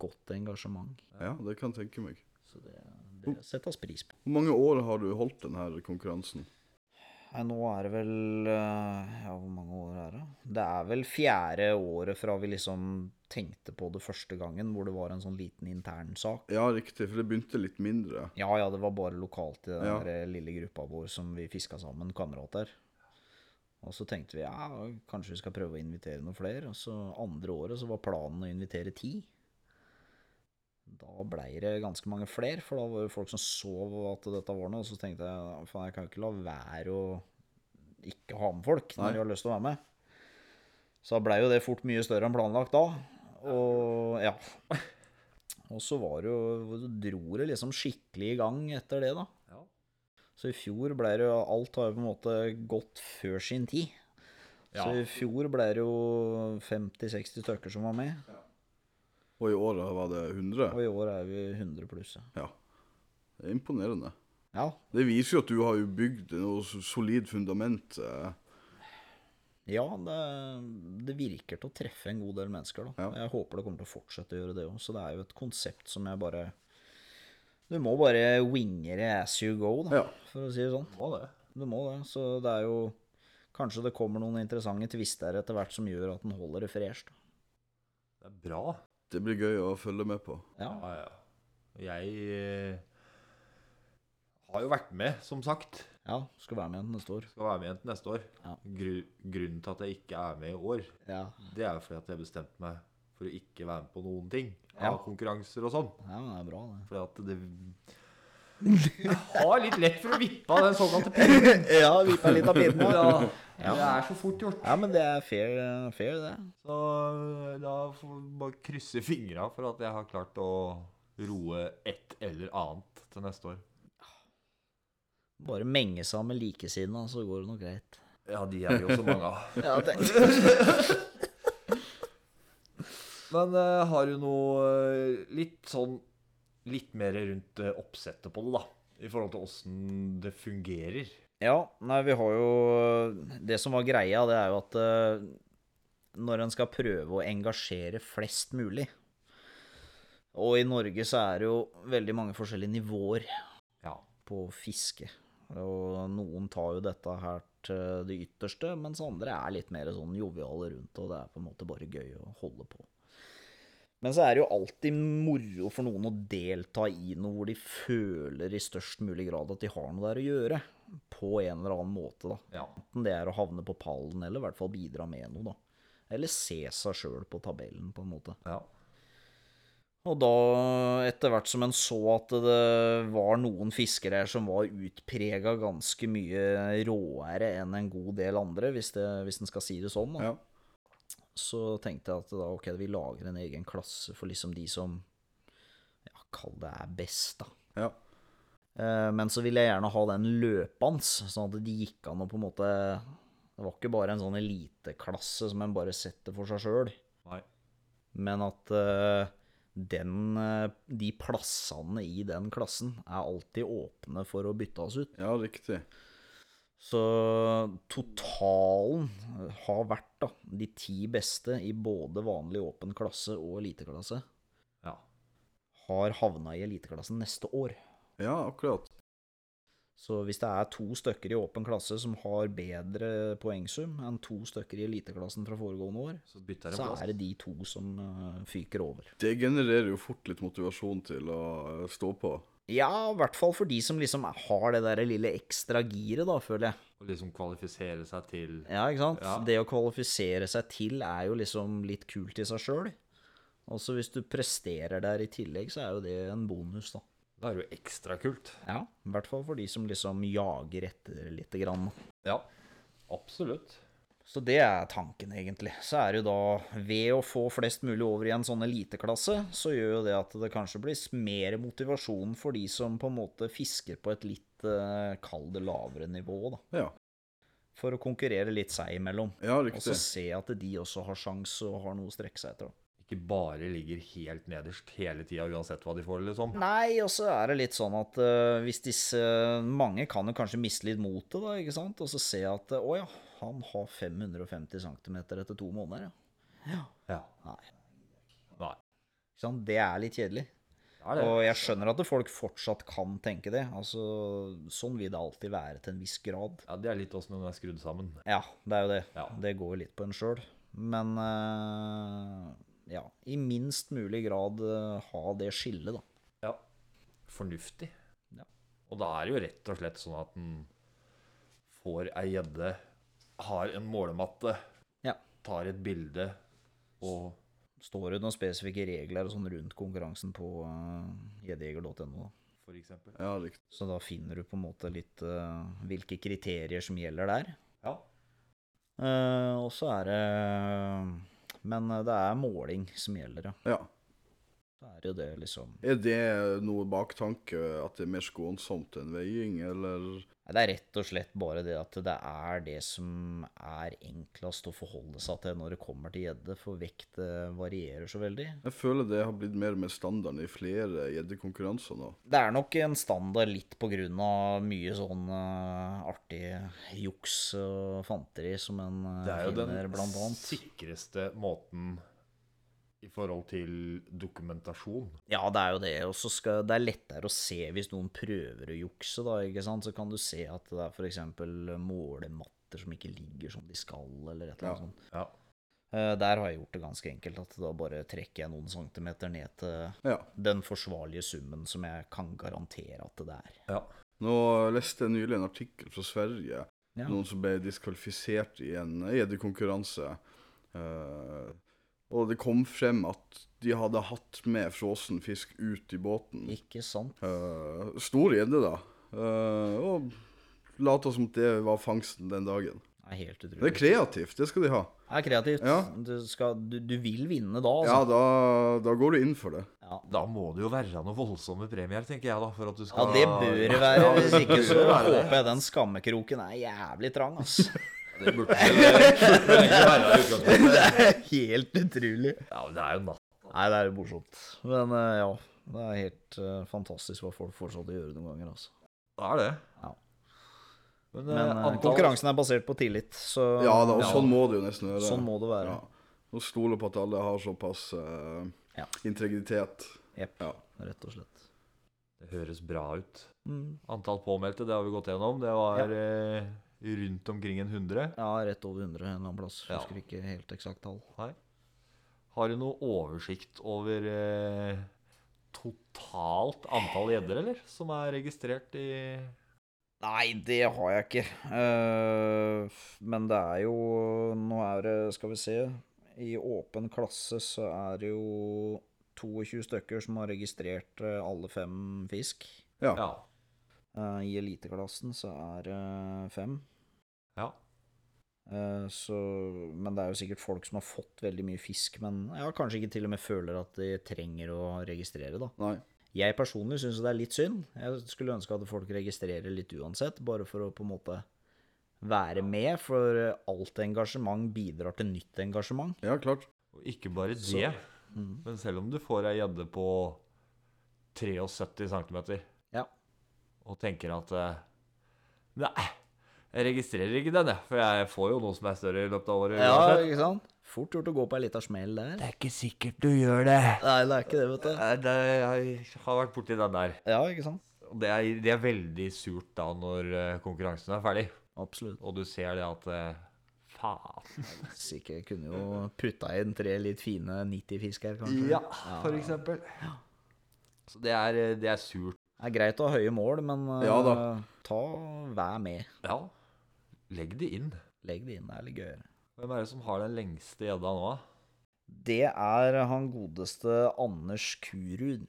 S4: godt engasjement.
S2: Ja, det kan jeg tenke meg.
S4: Så det, det settes pris på.
S2: Hvor mange år har du holdt denne konkurransen?
S4: Nei, nå er det vel eh, Ja, hvor mange år er det? Det er vel fjerde året fra vi liksom tenkte på det første gangen, hvor det var en sånn liten intern sak.
S2: Ja, riktig, for det begynte litt mindre.
S4: Ja, ja, det var bare lokalt i den
S2: Ja.
S4: der eh, lille gruppa vår som vi fiska sammen, kamerater. Og så tenkte vi ja, kanskje vi skal prøve å invitere noen flere. Og så andre året så var planen å invitere ti. Da blei det ganske mange flere, for da var det folk som så at dette var noe. Og så tenkte jeg faen, jeg kan jo ikke la være å ikke ha med folk når
S2: Nei.
S4: de har lyst til å være med. Så da blei jo det fort mye større enn planlagt da. Og ja. Og så var det jo Så dro det liksom skikkelig i gang etter det, da.
S3: Ja.
S4: Så i fjor ble det jo Alt har jo på en måte gått før sin tid. Så
S3: Ja.
S4: i fjor ble det jo 50-60 stykker som var med,
S2: Og i år var det 100?
S4: og i år er vi 100 pluss. ja.
S2: Ja. Det er imponerende.
S4: Ja.
S2: Det viser jo at du har jo bygd noe s- solid fundament. eh.
S4: Ja, det, det virker til å treffe en god del mennesker, da.
S2: Ja.
S4: Jeg håper det kommer til å fortsette å gjøre det òg. Så det er jo et konsept som jeg bare Du må bare winge det as you go, da,
S2: Ja.
S4: for å si det sånn.
S3: Må det.
S4: Du må det. Så det er jo Kanskje det kommer noen interessante tvister etter hvert som gjør at den holder det fresh. da.
S3: Det er bra.
S2: Det blir gøy å følge med på.
S4: Ja.
S3: Ja, ja. Jeg eh, har jo vært med, som sagt.
S4: ja, skal være med igjen neste år.
S3: Skal være med igjen til neste år.
S4: Ja.
S3: Gru, grunnen til at jeg ikke er med i år,
S4: Ja.
S3: det er jo fordi at jeg bestemte meg for å ikke være med på noen ting.
S4: Ja.
S3: Av konkurranser og sånn.
S4: ja, det er bra, det.
S3: Fordi at det Jeg har litt lett for å vippe av den [LAUGHS] såkalte pinnen.
S4: [LAUGHS] Ja, vippa litt av pinnen.
S3: Ja.
S4: Ja.
S3: Det er så fort gjort.
S4: Ja, men det er fair, fair det.
S3: Så da får vi bare krysse fingra for at jeg har klart å roe et eller annet til neste år.
S4: Bare menge seg med likesinnede, så går det nok greit.
S3: Ja, de er det jo så mange av.
S4: Ja, det,
S3: [LAUGHS] Men eh, har du noe eh, litt sånn Litt mer rundt eh, oppsettet på det, da. I forhold til åssen det fungerer.
S4: [LAUGHS] Ja, nei, vi har jo Det som var greia, det er jo at eh, når en skal prøve å engasjere flest mulig Og i Norge så er det jo veldig mange forskjellige nivåer
S3: Ja.
S4: på fiske. Og noen tar jo dette her til det ytterste, mens andre er litt mer sånn joviale rundt, og det er på en måte bare gøy å holde på. Men så er det jo alltid moro for noen å delta i noe hvor de føler i størst mulig grad at de har noe der å gjøre, på en eller annen måte, da.
S3: ja.
S4: Enten det er å havne på pallen, eller i hvert fall bidra med noe, da. Eller se seg sjøl på tabellen, på en måte.
S3: ja.
S4: Og da, etter hvert som en så at det var noen fiskere her som var utprega ganske mye råere enn en god del andre, hvis, det, hvis en skal si det sånn, da.
S2: Ja.
S4: så tenkte jeg at da, ok, vi lager en egen klasse for liksom de som ja, Kall det er best, da.
S2: ja.
S4: Eh, Men så ville jeg gjerne ha den løpende, sånn at de gikk an å på en måte Det var ikke bare en sånn eliteklasse som en bare setter for seg sjøl,
S3: Nei.
S4: men at eh, den, eh, de plassene i den klassen er alltid åpne for å bytte oss ut.
S2: Ja, riktig.
S4: Så totalen eh, har vært da, de ti beste i både vanlig åpen klasse og eliteklasse
S3: Ja.
S4: har havna i eliteklassen neste år.
S2: Ja, akkurat.
S4: Så hvis det er to stykker i åpen klasse som har bedre poengsum enn to stykker i eliteklassen fra foregående år,
S3: Så bytter jeg
S4: så
S3: en plass.
S4: er det de to som eh, fyker over.
S2: Det genererer jo fort litt motivasjon til å eh, stå på.
S4: Ja, i hvert fall for de som liksom har det der lille ekstra giret, da, føler jeg.
S3: Å liksom kvalifisere seg til
S4: Ja, ikke sant?
S3: Ja.
S4: Det å kvalifisere seg til er jo liksom litt kult i seg sjøl. Også hvis du presterer der i tillegg, så er jo det en bonus, da.
S3: Da er det jo ekstra kult.
S4: Ja, i hvert fall for de som liksom jager etter lite grann.
S3: Ja. Absolutt.
S4: Så det er tanken, egentlig. Så er det jo da, ved å få flest mulig over i en sånn eliteklasse, så gjør jo det at det kanskje blir mer motivasjon for de som på en måte fisker på et litt, eh, kall det lavere nivå, da.
S2: Ja,
S4: For å konkurrere litt seg imellom.
S2: ja
S4: Og
S2: riktig.
S4: så se at de også har sjans og har noe å strekke seg etter. da.
S3: Ikke bare ligger helt nederst hele tida uansett hva de får, liksom.
S4: Nei, og så er det litt sånn at eh, hvis disse Mange kan jo kanskje miste litt motet, da, ikke sant? Og så se at eh, Å ja, han har 550 cm etter to måneder, ja.
S3: Ja.
S4: Nei.
S3: Nei.
S4: Ikke sant? Det er litt kjedelig.
S3: Ja, det.
S4: Og jeg skjønner at folk fortsatt kan tenke det. Altså, sånn vil det alltid være til en viss grad.
S3: ja, det er litt åssen den er skrudd sammen.
S4: Ja, det er jo det.
S3: Ja.
S4: Det går jo litt på en sjøl. Men eh, ja, i minst mulig grad eh, ha det skillet, da.
S3: Ja. Fornuftig.
S4: Ja.
S3: Og da er det jo rett og slett sånn at en får ei gjedde, har en målematte,
S4: Ja.
S3: tar et bilde og
S4: Står det noen spesifikke regler og sånn rundt konkurransen på eh, gjeddejeger.no? da?
S3: For eksempel.
S2: Ja, riktig.
S4: Så da finner du på en måte litt eh, hvilke kriterier som gjelder der.
S3: Ja.
S4: Eh, og så er det Men eh, det er måling som gjelder, ja.
S2: Ja.
S4: Så er det jo det, liksom
S2: Er det noe baktanke at det er mer skånsomt enn veiing, eller
S4: Nei, Det er rett og slett bare det at det er det som er enklest å forholde seg til når det kommer til gjedde, for vekt eh, varierer så veldig.
S2: Jeg føler det har blitt mer med standarden i flere gjeddekonkurranser nå.
S4: Det er nok en standard litt på grunn av mye sånn eh, artig juks og fanteri som en eh,
S3: Det er jo
S4: finner,
S3: den
S4: blant annet.
S3: sikreste måten i forhold til dokumentasjon.
S4: Ja, det er jo det. Og så skal det er lettere å se hvis noen prøver å jukse, da, ikke sant. Så kan du se at det er f.eks. målematter som ikke ligger som de skal, eller et eller annet sånt.
S3: Ja.
S4: Eh, Der har jeg gjort det ganske enkelt, at da bare trekker jeg noen centimeter ned til
S2: Ja.
S4: den forsvarlige summen som jeg kan garantere at det er.
S3: ja.
S2: Nå leste jeg nylig en artikkel fra Sverige.
S4: Ja.
S2: Noen som ble diskvalifisert i en gjeddekonkurranse. Eh, og det kom frem at de hadde hatt med frossen fisk ut i båten.
S4: Ikke sant?
S2: Eh, stor gjedde, da. Eh, og lata som at det var fangsten den dagen.
S4: Det er helt
S2: Det er
S4: utrolig.
S2: kreativt, det skal de ha.
S4: Det er kreativt.
S2: Ja.
S4: Du, skal, du, du vil vinne da,
S2: Ja,
S4: altså.
S2: da, da går du inn for det.
S4: Ja. Ja.
S3: Da må det jo være noen voldsomme premier, tenker jeg, da, for at du
S4: Ja,
S3: skal
S4: det bør det være.
S3: Ja,
S4: Hvis ikke
S3: bør
S4: så
S3: det være det.
S4: håper jeg den skammekroken er jævlig trang, ass.
S3: Det burde det burde ikke være i utgangspunktet.
S4: Det er helt utrolig.
S3: Ja, men det er jo natt.
S4: Nei, det er jo morsomt. Men eh, ja, det er helt eh, fantastisk hva folk får seg til å gjøre noen ganger, altså.
S3: Det er det.
S4: Ja.
S3: Men, eh,
S4: Men eh,
S3: antall-
S4: konkurransen er basert på tillit, så
S2: Ja da, og
S3: Ja.
S2: sånn må det jo nesten være.
S4: sånn må det være.
S2: Ja. Og stole på at alle har såpass eh,
S4: Ja.
S2: integritet.
S4: Jepp,
S2: Ja.
S4: rett og slett.
S3: Det høres bra ut.
S4: Mm.
S3: Antall påmeldte, det har vi gått gjennom. Det var eh, rundt omkring en hundre.
S4: Ja, rett over 100 en eller annen plass.
S3: Ja.
S4: Husker ikke helt eksakt tall.
S3: Nei. Har du noe oversikt over eh, totalt antall gjedder, eller? Som er registrert i
S4: Nei, det har jeg ikke. Eh, men det er jo Nå er det, skal vi se I åpen klasse så er det jo 22 stykker som har registrert eh, alle fem fisk.
S2: Ja.
S3: Ja.
S4: Eh, I eliteklassen så er det fem.
S3: ja.
S4: Eh, så, men det er jo sikkert folk som har fått veldig mye fisk, men ja, kanskje ikke til og med føler at de trenger å registrere, da.
S2: Nei.
S4: Jeg personlig syns det er litt synd. Jeg skulle ønske at folk registrerer litt uansett, bare for å på en måte være med, for alt engasjement bidrar til nytt engasjement.
S2: Ja, klart.
S3: Og ikke bare det, men selv om du får ei gjedde på 73 cm
S4: Ja.
S3: og tenker at eh, Nei, jeg registrerer ikke den, jeg, for jeg får jo noe som er større i løpet av året.
S4: ja,
S3: uansett.
S4: ikke sant? Fort gjort å gå på ei lita smell der.
S3: Det er ikke sikkert du gjør det.
S4: Nei, det er ikke det, vet du.
S3: Nei, det, jeg har vært borti den der.
S4: Ja, ikke sant?
S3: Og Det er, det er veldig surt da når eh, konkurransen er ferdig,
S4: Absolutt.
S3: og du ser det at eh, Faen.
S4: Hvis ikke jeg kunne jo putta inn tre litt fine 90-fisk her, kanskje.
S3: Ja, for eksempel. Så det er, eh, det er surt.
S4: Det er greit å ha høye mål, men eh,
S2: Ja da.
S4: ta vær med.
S3: Ja, legg det inn.
S4: Legg det inn, det er litt gøyere.
S3: Hvem er det som har den lengste gjedda nå? da?
S4: Det er han godeste Anders Kurud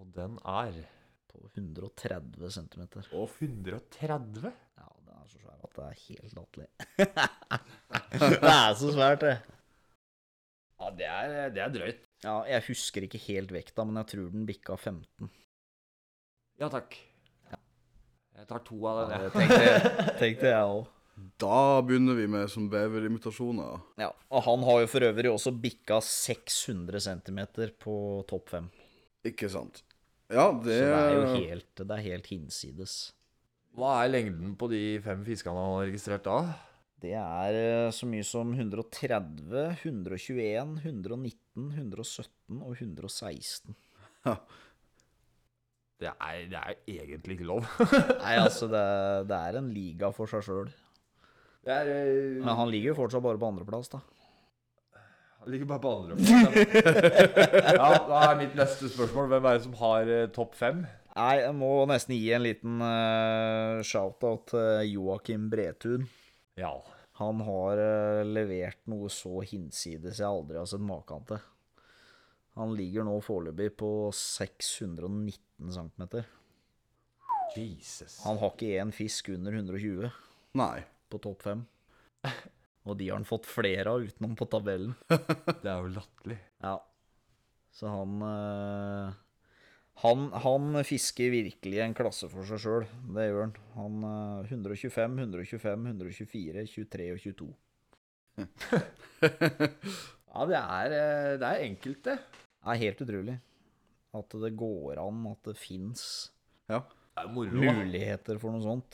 S3: Og den er
S4: på 130 cm.
S3: Å, 130?
S4: Ja, den er så svær at det er helt latterlig. [LAUGHS] det er så svært, det.
S3: Ja, det er, det er drøyt.
S4: Ja, jeg husker ikke helt vekta, men jeg tror den bikka 15.
S3: Ja takk. Jeg tar to av den,
S4: Ja, det
S3: jeg.
S4: tenkte, tenkte jeg òg.
S2: Da begynner vi med sånn beverimitasjoner.
S4: Ja, og han har jo for øvrig også bikka 600 cm på topp fem.
S2: Ikke sant? Ja, det,
S4: Så det er jo helt, det er helt hinsides.
S3: [LAUGHS] Hva er lengden på de fem fiskene han har registrert da?
S4: Det er eh, så mye som 130, 121, 119, 117 og 116.
S3: Det er, det er egentlig ikke lov.
S4: Nei, altså, det, er- det er en liga for seg sjøl.
S3: Det er, eh,
S4: Men han ligger jo fortsatt bare på andreplass, da.
S3: Han ligger bare på andreplass. [LAUGHS] ja, da er mitt neste spørsmål hvem er det som har eh, topp fem?
S4: Nei, jeg må nesten gi en liten eh, shout-out til Joakim Bretun.
S3: Ja.
S4: Han har eh, levert noe så hinsides jeg aldri har sett maken til. Han ligger nå foreløpig på 619 cm.
S3: Jesus.
S4: Han har ikke én fisk under 120
S2: Nei.
S4: på topp [LAUGHS] fem. Og de har han fått flere av utenom på tabellen.
S3: Det er jo latterlig.
S4: Ja. Så han eh, han, han fisker virkelig en klasse for seg sjøl. Det gjør han. Han eh, 125, 125, 124, 23 og 22.
S3: Ja, det er, eh, det er enkelt, det.
S4: Det er helt utrolig at det går an, at det fins
S2: Ja.
S3: Det er moro. da.
S4: muligheter for noe sånt.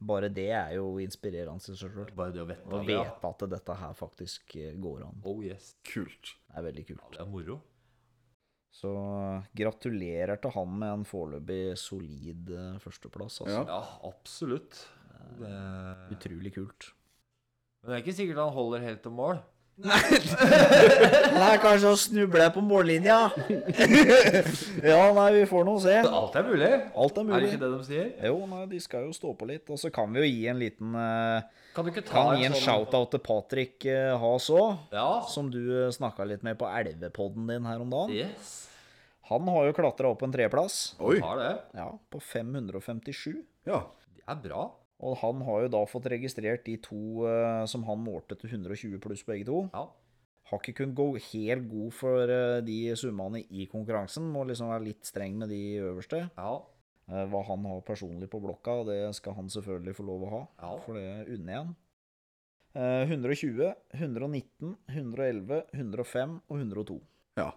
S4: Bare det er jo inspirerende i seg sjøl.
S3: Bare det å vite det.
S4: Å vite at dette her faktisk eh, går an.
S3: Oh yes.
S2: Kult.
S4: Det er veldig kult.
S3: Ja, det er moro.
S4: Så eh, gratulerer til han med en foreløpig solid eh, førsteplass. Altså.
S2: Ja.
S3: Ja, absolutt. Det... Men
S4: Utrolig kult.
S3: det er ikke sikkert han holder helt til mål.
S4: Nei, kanskje å snuble på mållinja. [LAUGHS] ja, nei, vi får nå se.
S3: Alt er mulig. Er
S4: Alt er
S3: det
S4: mulig.
S3: ikke det de sier?
S4: Jo, nei, de skal jo stå på litt. Og så kan vi jo gi en liten eh,
S3: Kan du ikke ta sånn.
S4: Kan gi en shout-out til Patrick eh, Haas òg,
S3: Ja.
S4: som du eh, snakka litt med på elvepodden din her om dagen.
S3: Yes.
S4: Han har jo klatra opp en treplass,
S2: Oi.
S3: Tar det.
S4: ja, på 557.
S2: Ja.
S3: Det er bra.
S4: Og han har jo da fått registrert de to eh, som han målte til 120 pluss, begge to.
S3: Ja.
S4: har ikke kunnet gå helt god for eh, de summene i konkurransen. Må liksom være litt streng med de øverste.
S3: Ja,
S4: Eh, Hva han har personlig på blokka, det skal han selvfølgelig få lov å ha,
S3: ja.
S4: for det unner jeg han. Eh, 120, 119, 111, 105 og 102.
S2: Ja.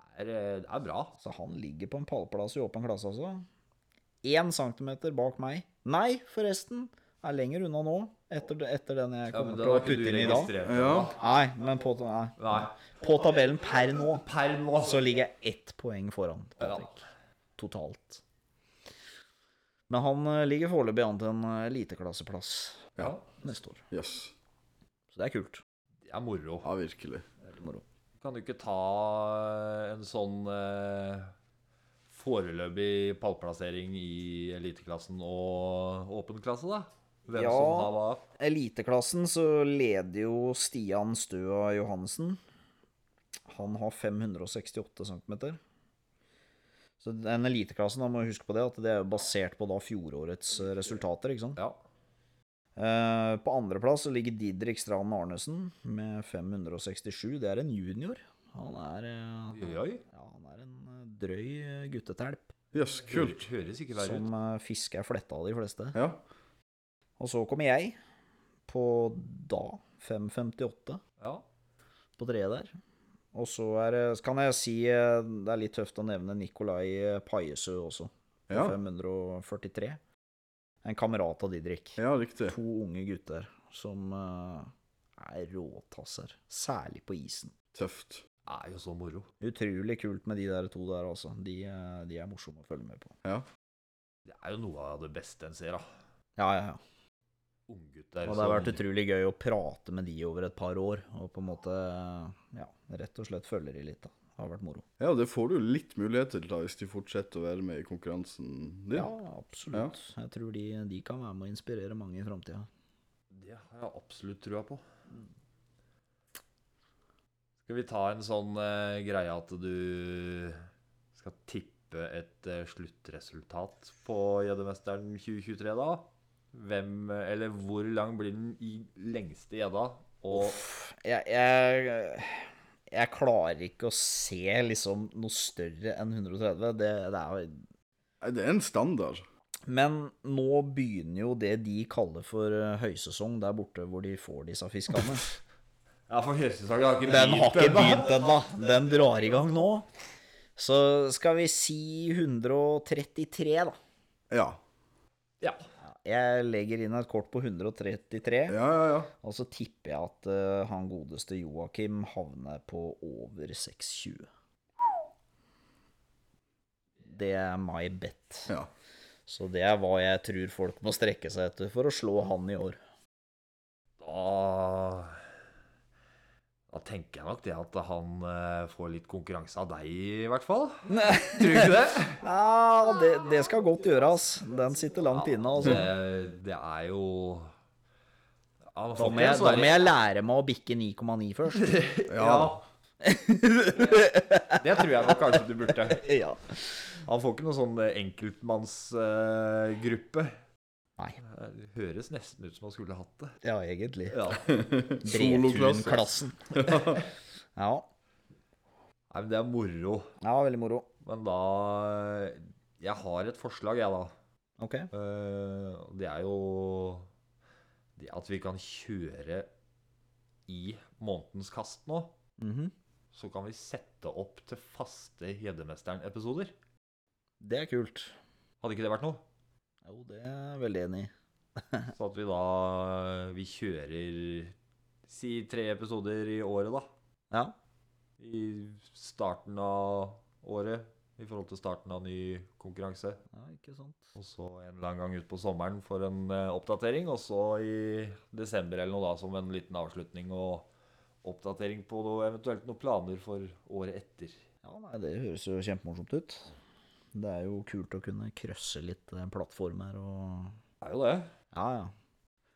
S3: Det er, eh, det er bra.
S4: Så han ligger på en pallplass i åpen klasse, altså. Én centimeter bak meg. Nei, forresten. Er lenger unna nå, etter, etter den jeg
S3: Ja, men
S4: kommer
S3: da
S4: til å
S3: har ikke du
S4: putte inn i dag.
S3: registrert det,
S2: Ja.
S3: da.
S4: Nei, men på, nei.
S3: Nei.
S4: på tabellen per nå
S3: Per nå.
S4: så ligger jeg ett poeng foran
S3: Ja.
S4: Patrick totalt. Men han eh, ligger foreløpig an til en eh, eliteklasseplass
S2: Ja.
S4: neste år.
S2: Yes.
S4: Så det er kult.
S3: Det er moro.
S2: Ja, virkelig.
S3: Kan du ikke ta eh, en sånn eh, foreløpig pallplassering i eliteklassen og åpen klasse, da? Hvem
S4: Ja.
S3: som har hva?
S4: Eliteklassen så leder jo Stian Støa Johansen. Han har 568 cm. Så den eliteklassen, da må vi huske på det, at det er basert på da fjorårets eh, resultater, ikke sant?
S3: Ja.
S4: Eh, på andreplass så ligger Didrik Strand Arnesen med 567. Det er en junior. Han er, eh,
S3: Oi, oi.
S4: ja, han er en eh, drøy eh, guttetelp
S2: Yes, kult.
S3: Høres- Høres ikke verre ut.
S4: som eh, fisker fletta av de fleste.
S2: Ja.
S4: Og så kommer jeg på da 558
S3: Ja.
S4: på treet der. Og så er det, så kan jeg si, eh, det er litt tøft å nevne Nikolai eh, Paiesø også, på
S2: Ja.
S4: 543. En kamerat av Didrik.
S2: ja, riktig.
S4: to unge gutter som eh, er råtasser, særlig på isen.
S2: Tøft.
S3: Det er jo så moro.
S4: Utrolig kult med de der to der, altså. De, eh, de er morsomme å følge med på.
S3: Det er jo noe av det beste en ser, da.
S4: Ja, ja, ja.
S3: Unggutter
S4: Og det har vært utrolig gøy å prate med de over et par år, og på en måte, eh, ja, rett og slett følge de litt, da. Det har vært moro.
S2: Ja, det får du litt muligheter til da, hvis de fortsetter å være med i konkurransen din.
S4: Ja, absolutt. Jeg tror de, de kan være med å inspirere mange i framtida.
S3: Det har jeg absolutt trua på. Skal vi ta en sånn eh, greie at du skal tippe et eh, sluttresultat på Gjeddemesteren 2023, da? Hvem, eh, eller hvor lang blir den i lengste gjedda? Og
S4: Jeg, jeg, jeg klarer ikke å se liksom noe større enn 130. Det, det er
S2: Nei, Det er en standard.
S4: Men nå begynner jo det de kaller for eh, høysesong der borte hvor de får disse [LAUGHS] fiskene.
S3: Ja, for høyestesaken har ikke
S4: Den har
S3: begynt
S4: ikke
S3: ennå.
S4: begynt ennå. Den drar i gang nå. Så skal vi si 133, da.
S2: Ja.
S3: Ja.
S4: Jeg legger inn et kort på 133,
S2: Ja, ja, ja.
S4: og så tipper jeg at eh, han godeste Joakim havner på over 620. Det er my bet.
S2: ja.
S4: Så det er hva jeg tror folk må strekke seg etter for å slå han i år.
S3: Da Da tenker jeg nok det at han eh, får litt konkurranse av deg, i hvert fall. Tror du ikke det?
S4: Ja, det, det skal godt gjøres. Den sitter langt inne, altså.
S3: Det, det er jo ja, man
S4: Da
S3: får
S4: må
S3: ikke
S4: jeg,
S3: en
S4: da
S3: sånn-
S4: må jeg lære meg å bikke 9,9 først.
S3: ja. Det tror jeg nok kanskje du burde.
S4: Ja.
S3: Han får ikke noen sånn eh, enkeltmannsgruppe.
S4: Nei.
S3: det høres nesten ut som han skulle hatt det.
S4: Ja, egentlig.
S3: Ja.
S2: Soloklasse.
S4: Bretun-klassen. [LAUGHS] Ja.
S3: Nei, men det er moro.
S4: ja, veldig moro.
S3: Men da eh, Jeg har et forslag, jeg, da.
S4: Ok.
S3: Eh, og det er jo det at vi kan kjøre i månedens kast nå.
S4: Mhm.
S3: Så kan vi sette opp til faste Gjeddemesteren-episoder.
S4: Det er kult.
S3: Hadde ikke det vært noe?
S4: Jo, det er jeg veldig enig i.
S3: Så at vi da Vi kjører si tre episoder i året, da.
S4: Ja.
S3: I starten av året. I forhold til starten av ny konkurranse.
S4: ja, ikke sant.
S3: Og så en eller annen gang utpå sommeren for en eh, oppdatering. Og så i desember eller noe da som en liten avslutning og oppdatering på noe, eventuelt noen planer for året etter.
S4: Ja, nei, Det høres jo kjempemorsomt ut. Det er jo kult å kunne krøsse litt eh, plattformer og
S3: Det er jo det.
S4: Ja, ja.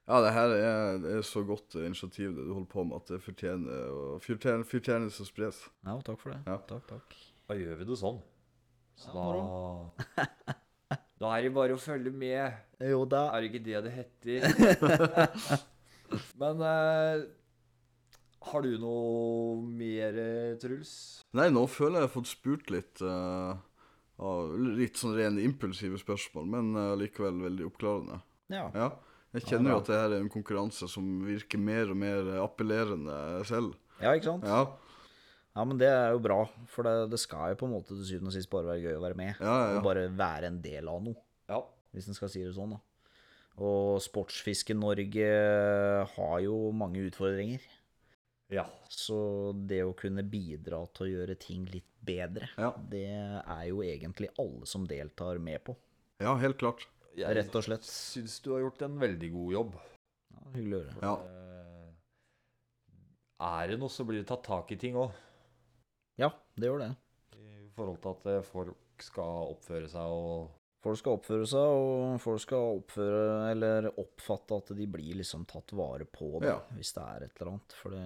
S2: Ja, det her er, det er så godt eh, initiativ det du holder på med, at det fortjener å fortjener- fortjenes å spres.
S4: Ja, takk for det.
S2: Ja.
S4: Takk, takk.
S3: Da gjør vi det sånn. Så
S4: Ja,
S3: da [LAUGHS] Da er det bare å følge med.
S4: Jo da.
S3: Er det ikke det det heter? Men eh, Har du noe mer, eh, Truls?
S2: Nei, nå føler jeg jeg har fått spurt litt eh, av litt sånn rene impulsive spørsmål, men eh, likevel veldig oppklarende.
S4: Ja.
S2: Ja. Jeg kjenner jo at det her er en konkurranse som virker mer og mer appellerende selv.
S4: ja, ikke sant?
S2: Ja,
S4: Ja, men det er jo bra, for det, det skal jo på en måte til syvende og sist bare være gøy å være med.
S2: ja, ja.
S4: Og bare være en del av noe,
S3: Ja.
S4: hvis en skal si det sånn, da. Og Sportsfiske Norge har jo mange utfordringer.
S3: ja.
S4: Så det å kunne bidra til å gjøre ting litt bedre,
S2: Ja.
S4: det er jo egentlig alle som deltar med på.
S2: ja helt klart.
S4: Rett og slett.
S3: Syns du har gjort en veldig god jobb.
S4: Ja, hyggelig å høre.
S2: Ja.
S3: Eh, Er det noe, så blir det tatt tak i ting òg.
S4: Ja, det gjør det.
S3: I forhold til at eh, folk skal oppføre seg og
S4: Folk skal oppføre seg, og folk skal oppføre eller oppfatte at de blir liksom tatt vare på, da,
S2: Ja.
S4: hvis det er et eller annet. For det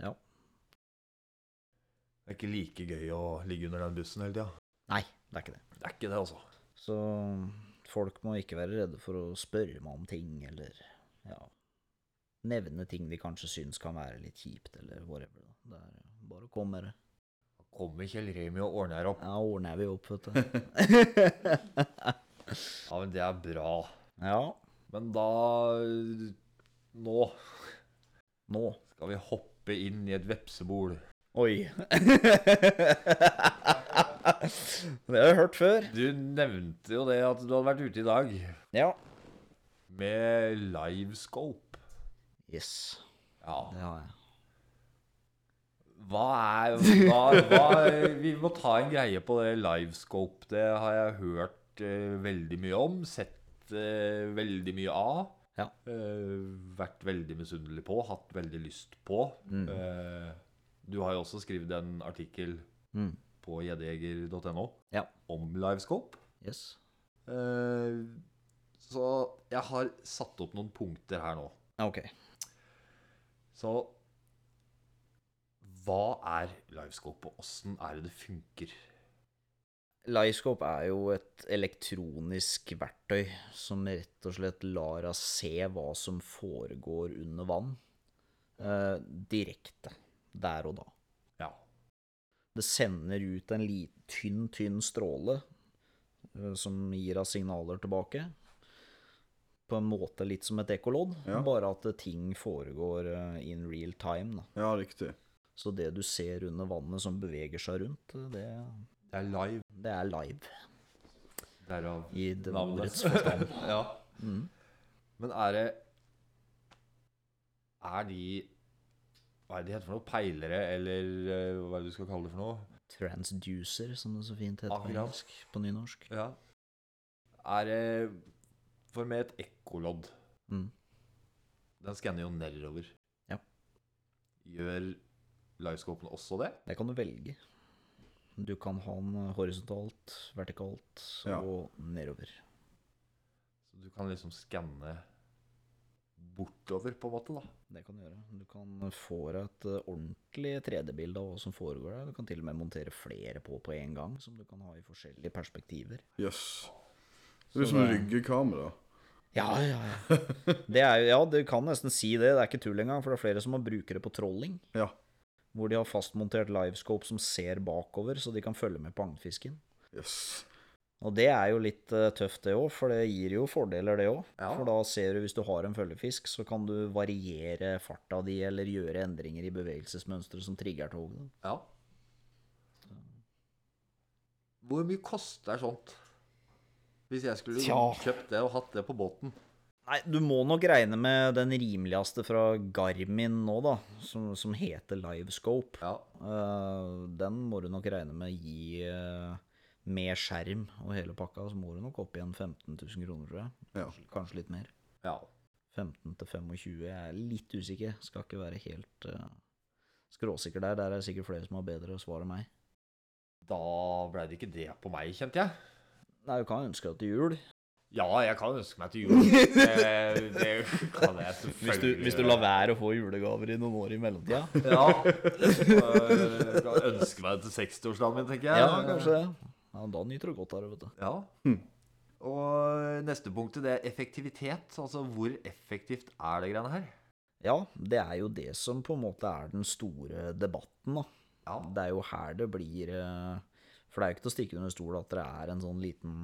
S4: Ja.
S3: Det er ikke like gøy å ligge under den bussen hele tida.
S4: Nei, det er ikke det.
S3: Det er ikke det, altså.
S4: Så folk må ikke være redde for å spørre meg om ting, eller ja Nevne ting de kanskje syns kan være litt kjipt, eller whatever. Da. Det er bare å komme med det.
S3: Kommer Kjell Remi og ordner her opp?
S4: Ja, ordner vi opp, vet du.
S3: Ja, men det er bra.
S4: [LAUGHS] ja, [LAUGHS]
S3: Men da Nå
S4: nå.
S3: skal vi hoppe inn i et vepsebol. [LAUGHS]
S4: Oi. det har jeg hørt før.
S3: Du nevnte jo det at du hadde vært ute i dag
S4: Ja.
S3: med livescope.
S4: Yes,
S3: Ja.
S4: det har jeg.
S3: Hva er hva, hva, Vi må ta en greie på det livescope. Det har jeg hørt eh, veldig mye om. Sett eh, veldig mye av.
S4: Ja.
S3: Eh, vært veldig misunnelig på. Hatt veldig lyst på.
S4: Mm.
S3: Eh, du har jo også skrevet en artikkel
S4: Mm.
S3: på gjeddejeger.no
S4: Ja.
S3: om livescope.
S4: Yes.
S3: Eh, så jeg har satt opp noen punkter her nå.
S4: Ok.
S3: Så hva er livescope, og åssen er det det funker?
S4: Livescope er jo et elektronisk verktøy som rett og slett lar oss se hva som foregår under vann, eh, direkte, der og da.
S3: Ja.
S4: Det sender ut en li- tynn, tynn stråle eh, som gir oss signaler tilbake. På en måte litt som et ekkolodd,
S2: Ja.
S4: bare at ting foregår eh, in real time. Da.
S2: Ja, riktig.
S4: Så det du ser under vannet som beveger seg rundt, eh, det,
S3: Det er live.
S4: det er live.
S3: Derav
S4: I det ordets
S3: forstand. [LAUGHS] ja.
S4: Mm.
S3: Men er det Er de Hva er det de heter for noe? Peilere, eller eh, hva er det du skal kalle det for noe?
S4: Transducer, som det så fint heter på
S3: Akkurat.
S4: engelsk. På nynorsk.
S3: Ja. Er det For med et ekkolodd
S4: Mm.
S3: Den skanner jo nedover.
S4: Ja.
S3: Gjør livescopen også det?
S4: Det kan du velge. Du kan ha den horisontalt, vertikalt
S2: Ja.
S4: og nedover.
S3: Så du kan liksom skanne bortover, på en måte, da.
S4: Det kan du gjøre. Du kan få deg et eh, ordentlig 3D-bilde av hva som foregår der. Du kan til og med montere flere på på en gang, som du kan ha i forskjellige perspektiver.
S2: Jøss. Yes. Det blir som ryggekamera.
S4: Ja, ja, ja. Det er, jo- ja, du kan nesten si det. Det er ikke tull engang, for det er flere som har brukere på trolling.
S2: Ja.
S4: Hvor de har fastmontert livescope som ser bakover, så de kan følge med på agnfisken.
S2: Jøss.
S4: Og det er jo litt eh, tøft det òg, for det gir jo fordeler det òg.
S3: Ja.
S4: For da ser du, hvis du har en følgefisk, så kan du variere farta di eller gjøre endringer i bevegelsesmønsteret som trigger toget.
S3: Ja. Hvor mye koster sånt? Hvis jeg skulle
S4: Tja.
S3: kjøpt det og hatt det på båten.
S4: Nei, du må nok regne med den rimeligste fra Garmin nå, da, som, som heter Livescope.
S3: Ja.
S4: Eh, den må du nok regne med gi eh, med skjerm og hele pakka, så må du nok opp igjen 15 000 kroner, tror jeg.
S2: Ja.
S4: Kanskje- Kanskje litt mer.
S3: ja.
S4: 15 til 25, jeg er litt usikker. Skal ikke være helt eh, skråsikker der. Der er det sikkert flere som har bedre svar enn meg.
S3: Da blei det ikke det på meg, kjente jeg.
S4: Nei, du kan ønske deg til jul.
S3: Ja, jeg kan ønske meg [LAUGHS] til jul. Det, det kan jeg selvfølgelig.
S4: være å få julegaver i noen år i mellomtida.
S3: Ja. Jeg kan ønske meg til 60-årsdagen min, tenker jeg.
S4: Ja, kanskje det. Ja, da nyter du godt av det, vet du.
S3: Ja. Og neste punktet, det er effektivitet. Altså hvor effektivt er det greiene her?
S4: Ja, det er jo det som på en måte er den store debatten, da.
S3: Ja.
S4: Det er jo her det blir eh, For det er jo ikke til å stikke under stol at det er en sånn liten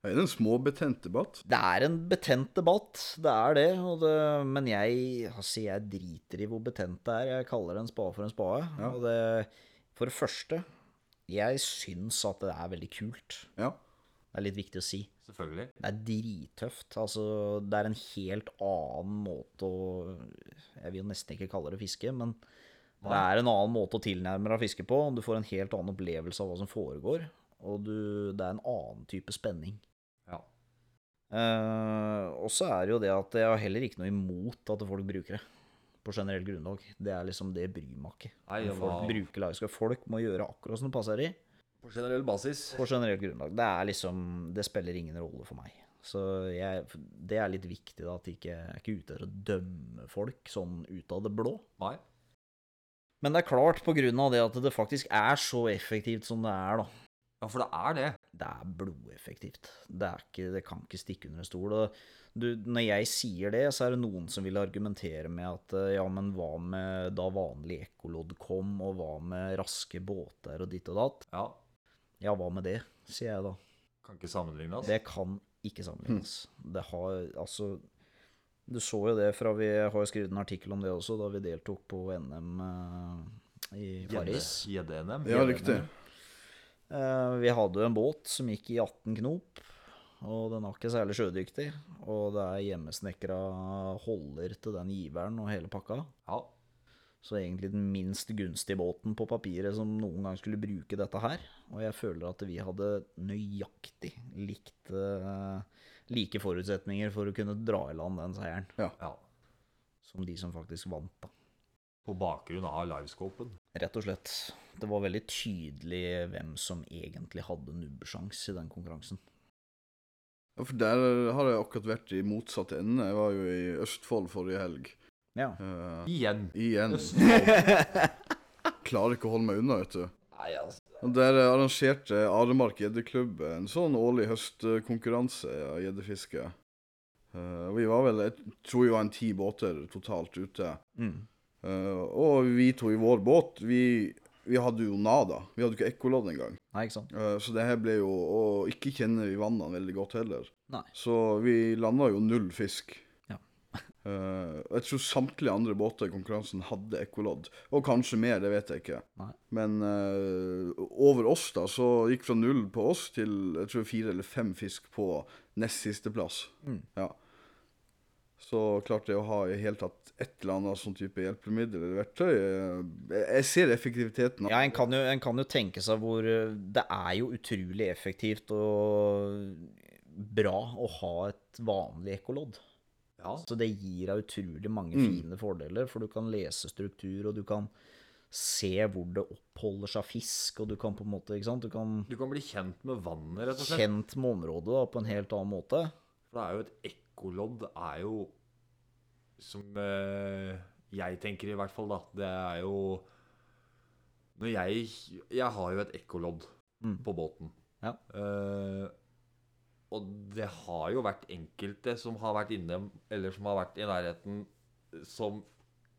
S2: Det er en småbetent debatt.
S4: Det er en betent debatt, det er det. Og det men jeg, altså jeg driter i hvor betent det er. Jeg kaller en spade for en spade. Og det, for det første, jeg syns at det er veldig kult.
S2: Ja.
S4: Det er litt viktig å si.
S3: Selvfølgelig.
S4: Det er drittøft. Altså, det er en helt annen måte å Jeg vil jo nesten ikke kalle det fiske, men det er en annen måte å tilnærme deg fiske på. Du får en helt annen opplevelse av hva som foregår, og du, det er en annen type spenning.
S3: Ja.
S4: Eh, og så er det jo det at jeg har heller ikke noe imot at folk bruker det. På generell grunnlag. Det er liksom det bryr meg ikke.
S3: Nei,
S4: Om
S3: det
S4: folk
S3: var-
S4: bruker lagerskap. Folk må gjøre akkurat som det passer de.
S3: På generell basis.
S4: På generelt grunnlag. Det er liksom Det spiller ingen rolle for meg. Så jeg, det er litt viktig da, at jeg ikke jeg er ikke ute etter å dømme folk sånn ut av det blå.
S3: Nei.
S4: Men det er klart, på grunn av det at det faktisk er så effektivt som det er, da.
S3: Ja, for det er det.
S4: Det er blodeffektivt. Det, er ikke, det kan ikke stikke under en stol. Og du, når jeg sier det, så er det noen som vil argumentere med at eh, ja, men hva med da vanlig ekkolodd kom, og hva med raske båter og ditt og datt?
S3: Ja.
S4: Ja, hva med det, sier jeg da.
S3: Kan ikke sammenligne altså. oss.
S4: Det kan ikke sammenlignes. Det har altså Du så jo det fra vi har jo skrevet en artikkel om det også, da vi deltok på NM eh, i Paris.
S3: Gjedde-NM.
S2: Ja, riktig.
S4: Eh, Vi hadde jo en båt som gikk i 18 knop, og den var ikke særlig sjødyktig. Og det er hjemmesnekra holder til den giveren og hele pakka.
S3: Ja.
S4: Så egentlig den minst gunstige båten på papiret som noen gang skulle bruke dette her. Og jeg føler at vi hadde nøyaktig likt eh, like forutsetninger for å kunne dra i land den seieren,
S3: ja.
S4: som de som faktisk vant, da.
S3: På bakgrunn av livescopen.
S4: Rett og slett. Det var veldig tydelig hvem som egentlig hadde nubbesjans i den konkurransen.
S2: Ja, for der har jeg akkurat vært i motsatt ende. Jeg var jo i Østfold forrige helg.
S4: Ja.
S2: Eh,
S3: [LAUGHS] Igjen.
S2: igjen. Klarer ikke å holde meg unna, vet du.
S3: Nei, altså.
S2: Og Der arrangerte Aremark gjeddeklubb en sånn årlig høstkonkurranse av gjeddefiske. Eh, og vi var vel jeg tror vi var en ti båter totalt ute.
S4: Mm.
S2: Eh, og vi to i vår båt, vi, vi hadde jo nada. Vi hadde ikke ekkolodd engang.
S4: Nei, ikke sant?
S2: Eh, så det her ble jo Og ikke kjenner vi vannene veldig godt heller.
S4: Nei.
S2: Så vi landa jo null fisk.
S4: Ja.
S2: [LAUGHS] Eh, og jeg tror samtlige andre båter i konkurransen hadde ekkolodd. Og kanskje mer, det vet jeg ikke.
S4: Nei.
S2: Men eh, over oss, da, så gikk fra null på oss til jeg tror fire eller fem fisk på nest siste plass.
S4: Mm.
S2: Ja. Så klart det å ha i hele tatt et eller annet sånn type hjelpemiddel eller verktøy eh, Jeg jeg ser effektiviteten.
S4: Ja, en kan, jo, en kan jo tenke seg hvor eh, Det er jo utrolig effektivt og bra å ha et vanlig ekkolodd.
S3: Ja.
S4: Så det gir deg utrolig mange
S2: Mm.
S4: fine fordeler, for du kan lese struktur, og du kan se hvor det oppholder seg fisk, og du kan på en måte, ikke sant Du kan
S3: Du kan bli kjent med vannet, rett og slett.
S4: kjent med området da, på en helt annen måte.
S3: For det er jo et ekkolodd er jo Som eh, jeg tenker i hvert fall, da. Det er jo Når jeg Jeg har jo et ekkolodd
S4: Mm.
S3: på båten.
S4: Ja.
S3: Eh, og det har jo vært enkelte som har vært inne, eller som har vært i nærheten, som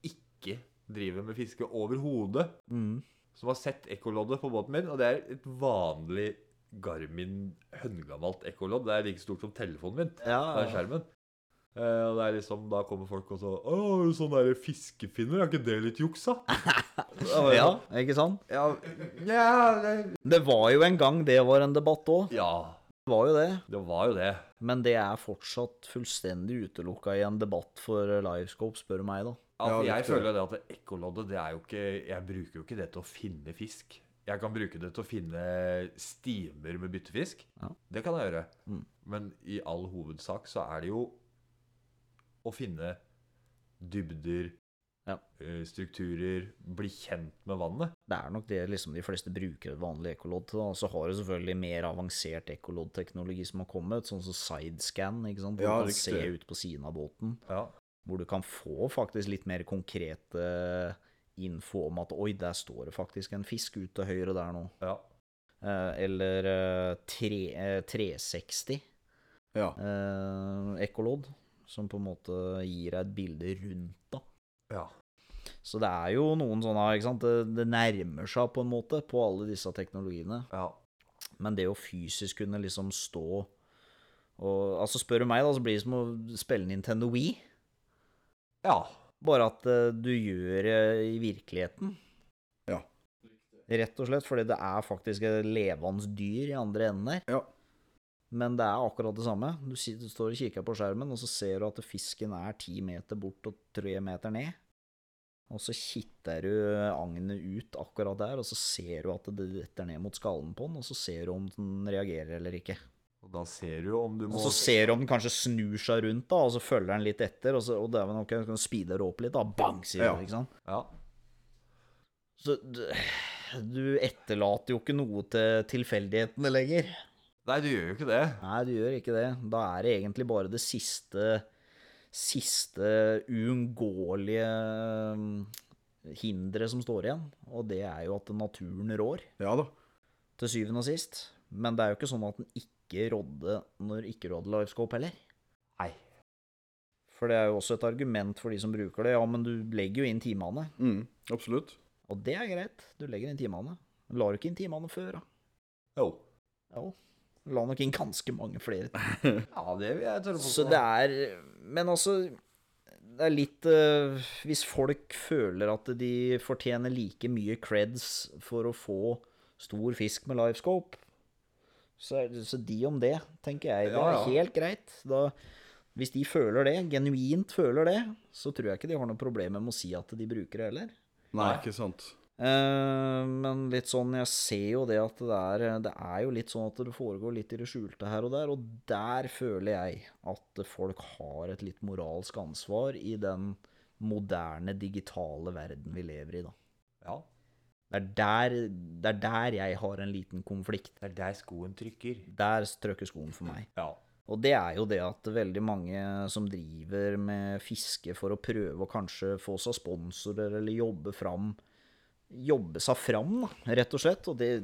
S3: ikke driver med fiske overhodet.
S4: Mm.
S3: Som har sett ekkoloddet på båten min, og det er et vanlig Garmin høngammalt ekkolodd. Det er like stort som telefonen min
S4: Ja,
S3: den skjermen. Eh, og det er liksom, Da kommer folk og så 'Å, har du sånn der fiskefinner? Er ikke det litt
S4: [LAUGHS]
S3: juks, da?' Da var jeg
S4: ja,
S3: sånn,
S4: ikke sant?
S3: Ja, ja, det-
S4: Det var jo en gang det var en debatt òg.
S3: ja,
S4: Det var jo det.
S3: det var jo det.
S4: Men det er fortsatt fullstendig utelukka i en debatt for eh, Livescope, spør du meg, da.
S3: Altså,
S2: Ja,
S3: jeg
S2: riktig.
S3: føler det at det ekkoloddet det er jo ikke, Jeg bruker jo ikke det til å finne fisk. Jeg kan bruke det til å finne stimer med byttefisk.
S4: Ja.
S3: Det kan jeg gjøre.
S4: Mm.
S3: Men i all hovedsak så er det jo å finne dybder,
S4: Ja.
S3: eh, strukturer, bli kjent med vannet.
S4: Det er nok det liksom de fleste bruker et vanlig ekkolodd til. da. Så har du selvfølgelig mer avansert ekkoloddteknologi som har kommet, sånn som sidescan, ikke sant? hvor
S2: Ja,
S4: du
S2: riktig.
S4: kan se ut på siden av båten.
S3: Ja.
S4: Hvor du kan få faktisk litt mer konkrete eh, info om at oi, der står det faktisk en fisk ut til høyre der nå.
S3: ja.
S4: Eh, Eller eh, tre, eh, 360.
S2: Ja.
S4: eh, ekkolodd, som på en måte gir deg et bilde rundt da.
S3: Ja.
S4: Så det er jo noen sånne ikke sant? Det, det nærmer seg på en måte på alle disse teknologiene.
S3: ja.
S4: Men det å fysisk kunne liksom stå og altså Spør du meg, da, så blir det som å spille Nintendo Wii.
S3: Ja.
S4: Bare at eh, du gjør det i virkeligheten.
S2: Ja.
S4: Rett og slett, fordi det er faktisk et levende dyr i andre enden der.
S2: Ja.
S4: Men det er akkurat det samme. Du, sit- du står og kikker på skjermen, og så ser du at fisken er ti meter bort og tre meter ned. Og så kitter du agnet ut akkurat der, og så ser du at det detter ned mot skallen på den, og så ser du om den reagerer eller ikke.
S3: Og da ser du om du
S4: Og
S3: må
S4: så ser du om den kanskje snur seg rundt, da, og så følger den litt etter, og, så, og det er vel noe, kan du speede det opp litt, da, bang, sier
S2: Ja.
S4: du, ikke sant?
S3: Ja.
S4: Så du, du etterlater jo ikke noe til tilfeldighetene lenger.
S3: Nei, du gjør jo ikke det.
S4: Nei, du gjør ikke det. Da er det egentlig bare det siste siste uunngåelige mm, hinderet som står igjen, og det er jo at naturen rår,
S2: Ja da.
S4: til syvende og sist. Men det er jo ikke sånn at den ikke rådde når ikke rådde livescope heller.
S3: Nei.
S4: For det er jo også et argument for de som bruker det. Ja, men du legger jo inn timene,
S2: Mm, absolutt.
S4: og det er greit. Du legger inn timene. Men La du ikke inn timene før, da?
S3: Jo.
S4: Jo. La nok inn ganske mange flere
S3: Ja, det vil jeg tørre på.
S4: Så det er Men altså det er litt eh, Hvis folk føler at de fortjener like mye creds for å få stor fisk med livescope, så, er, så de om det, tenker jeg. Det er
S3: Ja, ja.
S4: helt greit. Da, hvis de føler det, genuint føler det, så tror jeg ikke de har noe problem med å si at de bruker det heller.
S2: Nei, ikke sant.
S4: Eh, men litt sånn, jeg ser jo det at det er, det er jo litt sånn at det foregår litt i det skjulte her og der, og der føler jeg at folk har et litt moralsk ansvar i den moderne, digitale verden vi lever i, da.
S3: Ja.
S4: Det er der, det er der jeg har en liten konflikt.
S3: Det er der skoen trykker.
S4: Der strøkker skoen for meg.
S3: Ja.
S4: Og det er jo det at veldig mange som driver med fiske for å prøve å kanskje få seg sponsorer eller jobbe fram Jobbe seg fram, da, rett og slett. Og det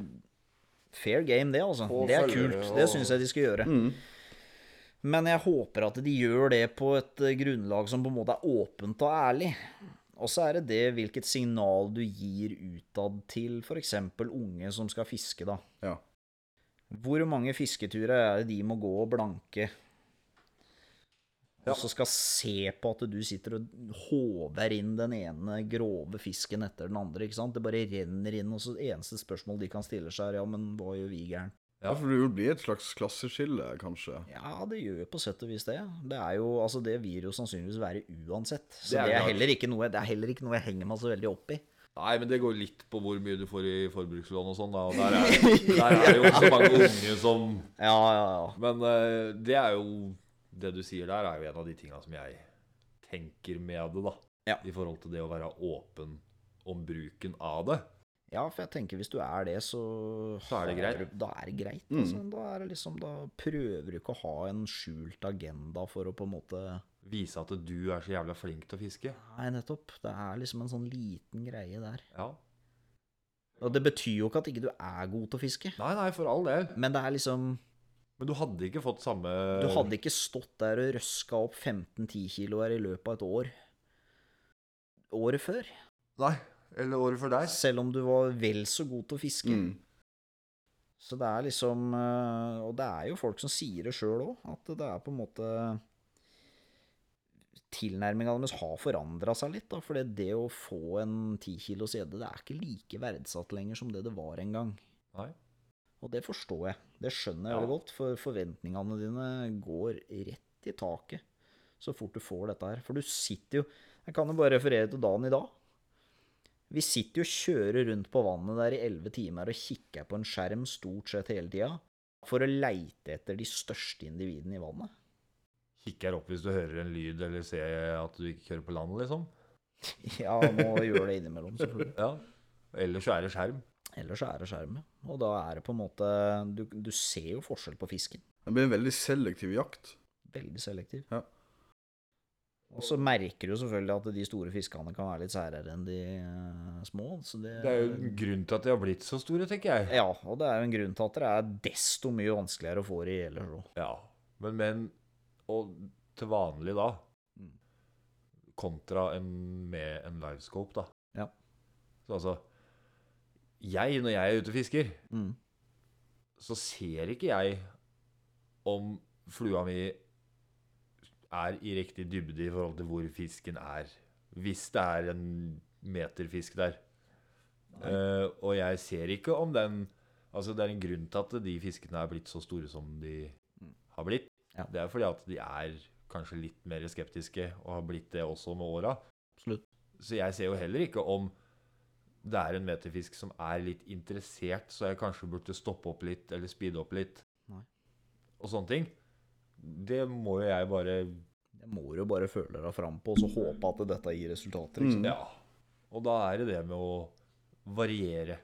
S4: Fair game, det, altså.
S1: Og
S4: det er
S1: følgere
S4: kult.
S1: og-
S4: Det syns jeg de skal gjøre. Men jeg håper at de gjør det på et eh, grunnlag som på en måte er åpent og ærlig. Og så er det det hvilket signal du gir utad til f.eks. unge som skal fiske, da.
S2: Ja.
S4: Hvor mange fisketurer er det de må gå og blanke? Og så skal se på at du sitter og håver inn den ene grove fisken etter den andre. ikke sant? Det bare renner inn, og så eneste spørsmål de kan stille seg, er ja, men hva gjør vi gærent?
S3: Ja.
S2: Ja, for det blir et slags klasseskille, kanskje.
S4: Ja, det gjør jo på sett og vis det. Det er jo, altså det vil jo sannsynligvis være uansett.
S3: Det
S4: Så det
S3: er
S4: er,
S3: klart.
S4: heller ikke noe, det er heller ikke noe jeg henger meg så veldig opp i.
S3: Nei, men det går litt på hvor mye du får i forbrukslån og sånn, da. Og der
S4: [LAUGHS]
S3: er, der er det jo så mange unge som
S4: Ja, ja, ja.
S3: Men eh, det er jo Det du sier der, er jo en av de tinga som jeg tenker med det, da.
S4: Ja.
S3: I forhold til det å være åpen om bruken av det.
S4: Ja, for jeg tenker hvis du er det, så
S3: Så er det
S4: har
S3: greit. Mm.
S4: du- Da er det greit. Altså. Da, er det liksom, da prøver du ikke å ha en skjult agenda for å på en måte
S3: Vise at du er så jævla flink til å fiske.
S4: Nei, nettopp. Det er liksom en sånn liten greie der.
S3: Ja.
S4: Og det betyr jo ikke at ikke du er god til å fiske,
S3: Nei, nei, for all del.
S4: men det er liksom
S3: Men du hadde ikke fått samme
S4: Du hadde ikke stått der og røska opp 15-10 kiloer i løpet av et år året før.
S3: Nei. Eller året før der.
S4: Selv om du var vel så god til å fiske.
S2: Mm.
S4: Så det er liksom eh, Og det er jo folk som sier det sjøl òg, at det er på en måte Tilnærminga deres har forandra seg litt, da. For det, det å få en ti kilos gjedde, det er ikke like verdsatt lenger som det det var en gang.
S3: Nei.
S4: Og det forstår jeg. Det skjønner jeg
S3: Ja.
S4: veldig godt, for forventningene dine går rett i taket så fort du får dette her. For du sitter jo Jeg kan jo bare referere til dagen i dag. Vi sitter jo og kjører rundt på vannet der i elleve timer og kikker på en skjerm stort sett hele tida for å leite etter de største individene i vannet. [LAUGHS]
S3: Kikker opp hvis du hører en lyd eller ser at du ikke kjører på land, liksom.
S4: Ja, må gjøre det innimellom, selvfølgelig.
S3: Ja. Ellers så er det skjerm.
S4: Ellers er det skjerm. ja. Og da er det på en måte Du, du ser jo forskjell på fisken.
S2: Det blir en veldig selektiv jakt.
S4: Veldig selektiv.
S2: Ja.
S4: Og så merker du jo selvfølgelig at de store fiskene kan være litt særere enn de eh, små. Så det,
S3: Det er jo en grunn til at de har blitt så store, tenker jeg.
S4: Ja, og det er jo en grunn til at det er desto mye vanskeligere å få det i ellers òg. Mm.
S3: Ja, men, men Og til vanlig da kontra en, med en livescope, da.
S4: Ja.
S3: Så altså Jeg, når jeg er ute og fisker,
S4: Mm.
S3: så ser ikke jeg om flua mi er i riktig dybde i forhold til hvor fisken er. Hvis det er en meterfisk der. Eh, og jeg ser ikke om den Altså, det er en grunn til at de fiskene er blitt så store som de har blitt.
S4: Mm. Ja.
S3: Det er fordi at de er kanskje litt mer skeptiske, og har blitt det også med åra.
S4: Absolutt.
S3: Så jeg ser jo heller ikke om det er en meterfisk som er litt interessert, så jeg kanskje burde stoppe opp litt, eller speede opp litt,
S4: Nei.
S3: og sånne ting. Det må jo jeg bare
S4: Jeg må jo bare føle deg fram på og så håpe at dette gir resultater. Liksom.
S3: Ja. Og da er det det med å variere.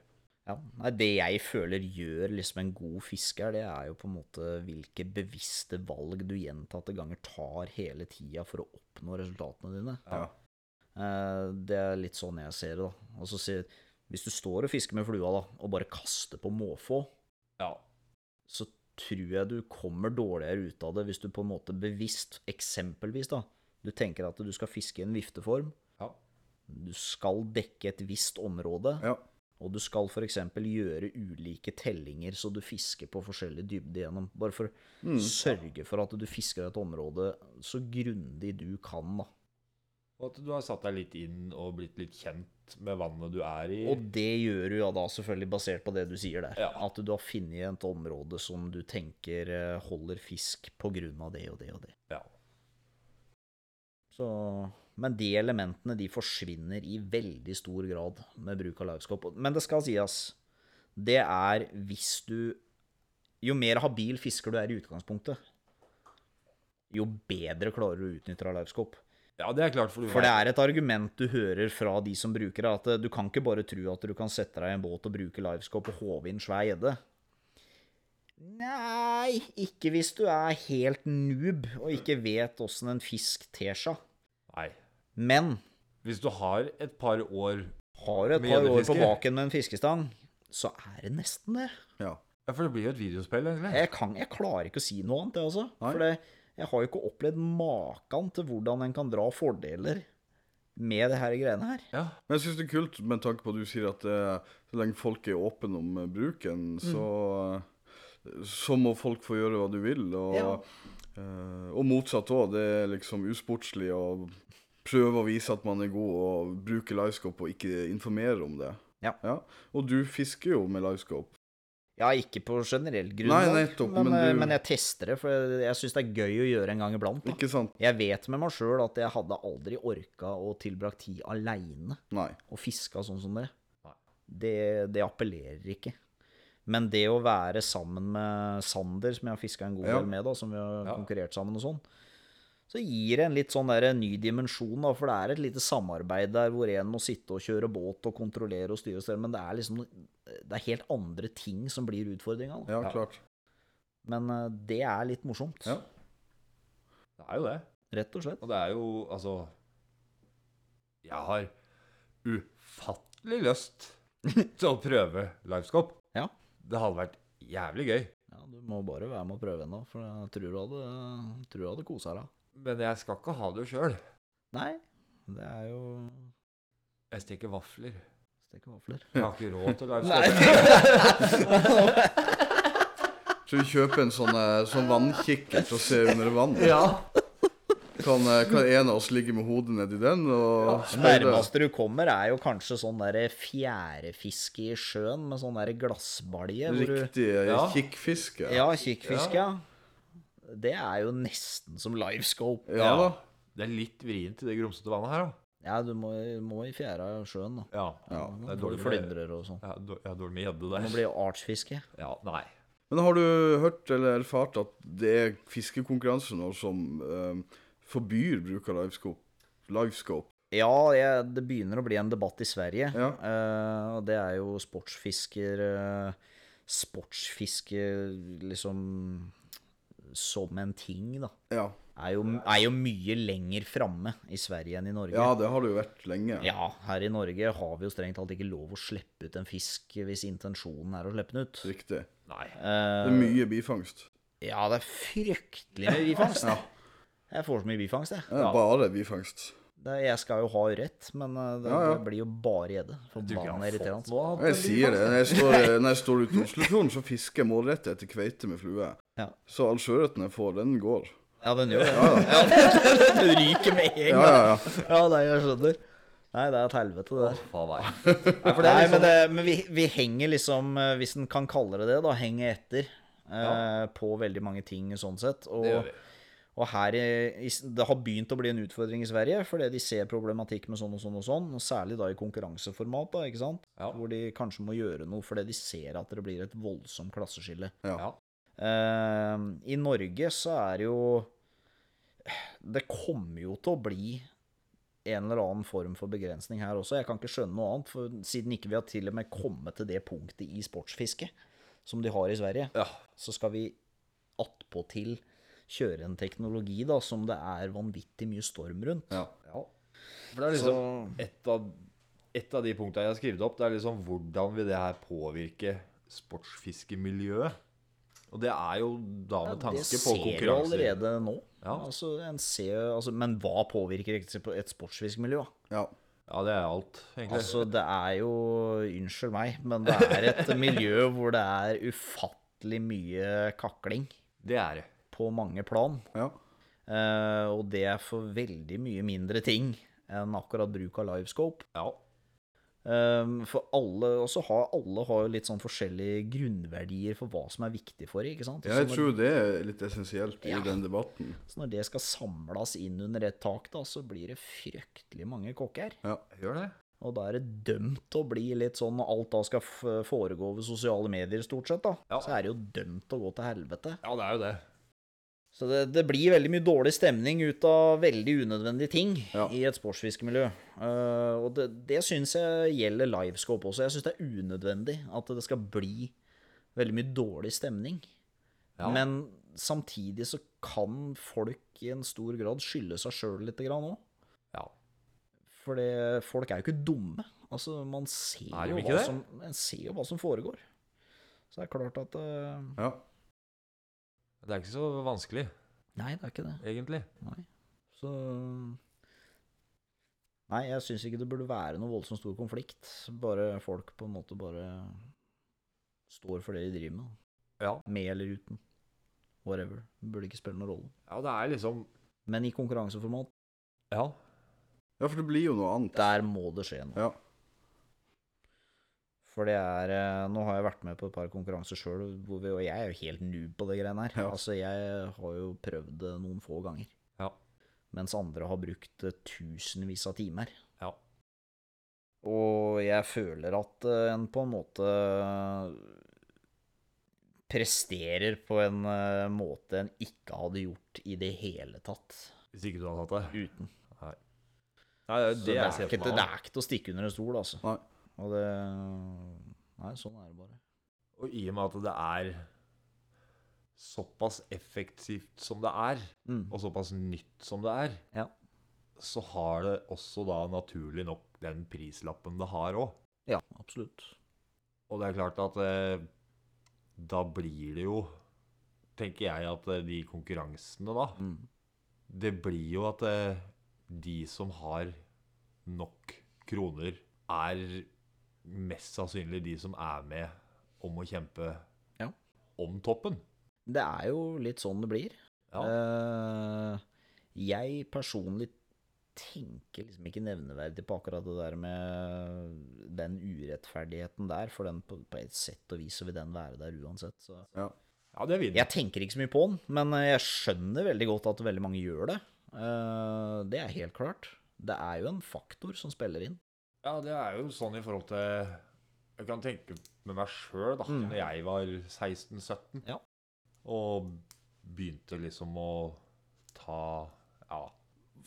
S4: Ja, nei, Det jeg føler gjør liksom en god fisker, det er jo på en måte hvilke bevisste valg du gjentatte ganger tar hele tida for å oppnå resultatene dine.
S2: Ja.
S4: Eh, Det er litt sånn jeg ser det. da. Og så sier- Hvis du står og fisker med flua da, og bare kaster på måfå,
S3: Ja.
S4: så tror jeg du kommer dårligere ut av det hvis du på en måte bevisst, eksempelvis da, du tenker at du skal fiske i en vifteform,
S3: Ja.
S4: du skal dekke et visst område,
S2: Ja.
S4: og du skal f.eks. gjøre ulike tellinger så du fisker på forskjellig dybde gjennom. Bare for å
S2: Hmm,
S3: Mm.
S4: sørge for at du fisker et område så grundig du kan. da.
S3: Og at du har satt deg litt inn og blitt litt kjent med vannet du er i.
S4: Og det gjør du ja da selvfølgelig basert på det du sier der.
S3: Mm. Ja.
S4: At du har funnet et område som du tenker eh, holder fisk pga. det og det og det.
S3: Ja.
S4: Så, men de elementene de forsvinner i veldig stor grad med bruk av livescope. Men det skal sies, det er hvis du Jo mer habil fisker du er i utgangspunktet, jo bedre klarer du å utnytte av livescope.
S3: ja, det er klart, for du
S4: For det
S3: vet-
S4: er et argument du hører fra de som bruker det, at eh, du kan ikke bare tro at du kan sette deg i en båt og bruke livescope og håve inn svær gjedde. Nei, ikke hvis du er helt noob og ikke vet åssen en fisk ter seg.
S3: Nei.
S4: Men
S3: Hvis du har et par år
S4: Har du et
S3: Med
S4: par år på
S3: gjeddefiske?
S4: baken med en fiskestang, så er det nesten det.
S2: ja.
S3: Ja, for det blir jo et videospill, egentlig.
S4: Jeg, kan, jeg klarer ikke å si noe annet, jeg altså.
S2: Nei.
S4: For det, jeg har jo ikke opplevd maken til hvordan en kan dra fordeler med det her greiene her.
S3: Ja.
S2: Men jeg syns det er kult med tanke på at du sier at eh, så lenge folk er åpne om eh, bruken, så, eh, så må folk få gjøre hva du vil. Og,
S4: Ja.
S2: eh, og motsatt òg. Det er liksom usportslig å prøve å vise at man er god, og bruke livescope og ikke informere om det.
S4: Ja.
S2: Og du fisker jo med livescope.
S4: Ja, ikke på generell
S2: Nei,
S4: grunnlag,
S2: nettopp,
S4: men,
S2: men
S4: eh,
S2: du-
S4: men jeg tester det, for jeg, jeg syns det er gøy å gjøre en gang iblant. Da.
S2: Ikke sant?
S4: Jeg vet med meg sjøl at jeg hadde aldri orka å tilbrakt tid aleine
S2: Nei.
S4: og fiska sånn som det.
S3: Nei.
S4: Det, det appellerer ikke. Men det å være sammen med Sander, som jeg har fiska en god
S2: Ja.
S4: del med, da, som vi har
S3: Ja.
S4: konkurrert sammen og sånn, så gir det en litt sånn der ny dimensjon, da, for det er et lite samarbeid der hvor en må sitte og kjøre båt og kontrollere og styre og stelle, men det er liksom det er helt andre ting som blir utfordringa. da.
S2: Ja, klart.
S4: Men eh, det er litt morsomt,
S2: Ja.
S3: Det er jo det.
S4: rett og slett.
S3: Og det er jo Altså Jeg har ufattelig lyst [LAUGHS] til å prøve livescope.
S4: Ja.
S3: Det hadde vært jævlig gøy.
S4: Ja, du må bare være med og prøve ennå, for jeg tror du hadde, tror du hadde kosa deg.
S3: Men jeg skal ikke ha det sjøl.
S4: Nei, det er jo
S3: Jeg steker vafler.
S4: Steke vafler.
S3: Jeg har ikke råd
S4: [LAUGHS]
S3: til livescope.
S4: Nei.
S2: Så vi kjøper en sånn, eh, sånn vannkikkert og ser under vann.
S3: ja.
S2: Kan, eh, kan en av oss ligge med hodet nedi den og speile?
S4: Nærmeste du kommer, er jo kanskje sånn der fjærefiske i sjøen med sånn der glassbalje. Hvor du,
S2: Riktig eh,
S3: Ja.
S2: kikkfiske.
S4: ja, kikkfiske, ja. Det er jo nesten som livescope.
S2: Ja da.
S3: Det er litt vrient i det grumsete vannet her, da.
S4: Ja, du må, må i fjæra i sjøen, da.
S3: Ja.
S4: Det er
S3: dårlig
S4: dårlig
S3: med-
S4: flyndrer og sånn.
S3: Jeg har dår- jeg har dårlig med gjedde
S4: Det
S3: der.
S4: blir jo artsfiske.
S3: Ja, nei.
S2: Men har du hørt eller erfart at det er fiskekonkurranser nå som eh, forbyr bruk av livescope? livescope?
S4: Ja, jeg, det begynner å bli en debatt i Sverige.
S2: Ja.
S4: Eh, og det er jo sportsfisker eh, Sportsfiske liksom som en ting, da.
S2: Ja.
S4: er jo, er jo mye lenger framme i Sverige enn i Norge.
S2: ja, det har det jo vært lenge.
S4: Ja, her i Norge har vi jo strengt talt ikke lov å slippe ut en fisk hvis intensjonen er å slippe den ut.
S2: Riktig.
S3: Nei.
S4: Eh,
S2: Det er mye bifangst.
S4: Ja, det er fryktelig mye bifangst.
S2: Ja.
S4: Jeg får så mye bifangst, jeg.
S2: Ja, Bare bifangst.
S4: Det, jeg skal jo ha rett, men eh, det,
S2: Ja, ja.
S4: det blir jo bare gjedde. Forbanna irriterende.
S3: noe
S2: Jeg sier det. Når jeg står, når jeg står ute i Oslofjorden, så fisker jeg målrettet etter kveite med flue.
S4: Ja.
S2: Så all sjøørreten jeg får, den går.
S4: [LAUGHS] Ja, den gjør det.
S2: Ja, ja.
S4: Den ryker med en
S2: ja,
S4: gang.
S2: ja, ja.
S4: Ja, nei, jeg skjønner. Nei, det er et helvete, det der.
S3: Faen meg. Nei, for det
S4: [LAUGHS] Nei,
S3: er liksom,
S4: men, det, men vi, vi henger liksom, eh, hvis en kan kalle det det, da, henger etter eh, på veldig mange ting sånn sett. Og,
S3: det gjør vi.
S4: Og her i, i, Det har begynt å bli en utfordring i Sverige, fordi de ser problematikk med sånn og sånn og sånn, og særlig da i konkurranseformat, da, ikke sant?
S3: Ja.
S4: hvor de kanskje må gjøre noe fordi de ser at det blir et voldsomt klasseskille.
S3: Ja.
S4: Eh, I Norge så er det jo Det kommer jo til å bli en eller annen form for begrensning her også. Jeg kan ikke skjønne noe annet, for siden ikke vi har til og med kommet til det punktet i sportsfiske som de har i Sverige
S3: Ja.
S4: så skal vi attpåtil kjøre en teknologi da, som det er vanvittig mye storm rundt.
S2: Ja.
S3: ja. For det er
S4: Så,
S3: liksom et av, et av de punktene jeg har skrevet opp, det er liksom hvordan vil det her påvirke sportsfiskemiljøet? Og det er jo da med
S4: det
S3: tanke på
S4: ser vi
S3: konkurranser.
S4: allerede nå.
S3: Ja.
S4: Altså, en ser, altså, men hva påvirker et et sportsfiskemiljø? da?
S2: ja.
S3: Ja, det er alt, egentlig. [LAUGHS]
S4: Altså, det er jo Unnskyld meg, men det er et [LAUGHS] miljø hvor det er ufattelig mye kakling
S3: det er det.
S4: på mange plan.
S2: ja.
S4: Eh, og det er for veldig mye mindre ting enn akkurat bruk av livescope.
S3: Ja.
S4: Um, for alle, og så har alle har jo litt sånn forskjellige grunnverdier for hva som er viktig for dem, ikke sant? Og
S2: Jeg
S4: så når,
S2: tror det er litt essensielt i
S4: Ja.
S2: den debatten.
S4: så når det skal samles inn under et tak, da, så blir det fryktelig mange kokker.
S2: Ja.
S3: Gjør det.
S4: Og da er det dømt å bli litt sånn Alt da skal f- foregå over sosiale medier, stort sett, da.
S3: Ja.
S4: Så er det jo dømt å gå til helvete.
S3: Ja, det er jo det.
S4: Så det, det blir veldig mye dårlig stemning ut av veldig unødvendige ting
S2: Ja.
S4: i et sportsfiskemiljø. Eh, og det, det syns jeg gjelder livescope også. Jeg syns det er unødvendig at det skal bli veldig mye dårlig stemning.
S3: Ja.
S4: Men samtidig så kan folk i en stor grad skylde seg sjøl litt òg.
S3: Ja.
S4: For det- folk er jo ikke dumme. Altså, man ser,
S3: Er de
S4: jo
S3: ikke
S4: hva
S3: det?
S4: som, man ser jo hva som foregår. Så det er klart at eh,
S2: ja.
S3: Det er ikke så vanskelig,
S4: Nei, det er ikke det.
S3: egentlig.
S4: Nei. Så Nei, jeg syns ikke det burde være noe voldsomt stor konflikt. Bare folk på en måte bare står for det de driver med.
S3: Ja.
S4: Med eller uten. Whatever. Det burde ikke spille noen rolle.
S3: Ja, det er liksom
S4: Men i konkurranseformat,
S3: Ja.
S2: ja, for det blir jo noe annet.
S4: der må det skje noe.
S2: Ja.
S4: For det er eh, Nå har jeg vært med på et par konkurranser sjøl, og jeg er jo helt noob på det greiene her.
S2: Ja.
S4: Altså, jeg har jo prøvd det noen få ganger.
S3: Ja.
S4: Mens andre har brukt eh, tusenvis av timer.
S3: Ja.
S4: Og jeg føler at eh, en på en måte presterer på en eh, måte en ikke hadde gjort i det hele tatt
S3: Hvis ikke du hadde hatt det.
S4: uten.
S3: Nei, det er
S4: Så
S3: det
S4: det,
S3: jeg
S4: er
S3: ser
S4: ikke,
S3: for
S4: det
S3: meg.
S4: er ikke til å stikke under en stol, altså.
S2: Nei.
S4: Og det Nei, sånn er det bare.
S3: Og i og med at det er såpass effektivt som det er,
S4: Mm.
S3: og såpass nytt som det er,
S4: Ja.
S3: så har det også da naturlig nok den prislappen det har òg.
S4: Ja, absolutt.
S3: Og det er klart at eh, da blir det jo Tenker jeg at eh, de konkurransene, da
S4: Mm.
S3: Det blir jo at eh, de som har nok kroner, er mest sannsynlig de som er med om å kjempe
S4: Ja.
S3: om toppen.
S4: Det er jo litt sånn det blir.
S3: Ja.
S4: Eh, jeg personlig tenker liksom ikke nevneverdig på akkurat det der med den urettferdigheten der, for den på, på et sett og vis så vil den være der uansett. Så.
S3: ja, det vil den.
S4: Jeg tenker ikke så mye på den, men jeg skjønner veldig godt at veldig mange gjør det. Eh, det er helt klart. Det er jo en faktor som spiller inn.
S3: Ja, det er jo sånn i forhold til Jeg kan tenke med meg sjøl, da.
S4: Mm.
S3: Når jeg var 16-17
S4: Ja.
S3: og begynte liksom å ta Ja,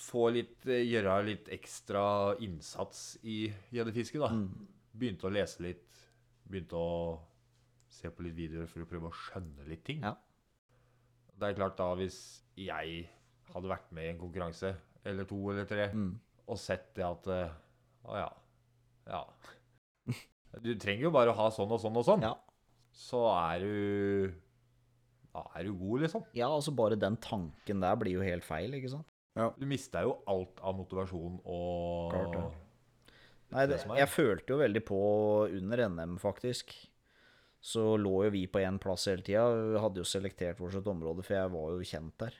S3: få litt eh, Gjøre litt ekstra innsats i gjeddefisket, da.
S4: Mm.
S3: Begynte å lese litt. Begynte å se på litt videoer for å prøve å skjønne litt ting.
S4: Ja.
S3: Det er klart da, hvis jeg hadde vært med i en konkurranse, eller to eller tre,
S4: Mm.
S3: og sett det at eh, Å ja. Ja. Du trenger jo bare å ha sånn og sånn og sånn.
S4: Ja.
S3: Så er du Da er du god, liksom.
S4: ja, altså bare den tanken der blir jo helt feil, ikke sant?
S2: Ja.
S3: Du mista jo alt av motivasjon og
S4: Klart det. Nei, det,
S3: det som er.
S4: jeg følte jo veldig på under NM, faktisk. Så lå jo vi på én plass hele tida. Vi hadde jo selektert vårt område, for jeg var jo kjent der.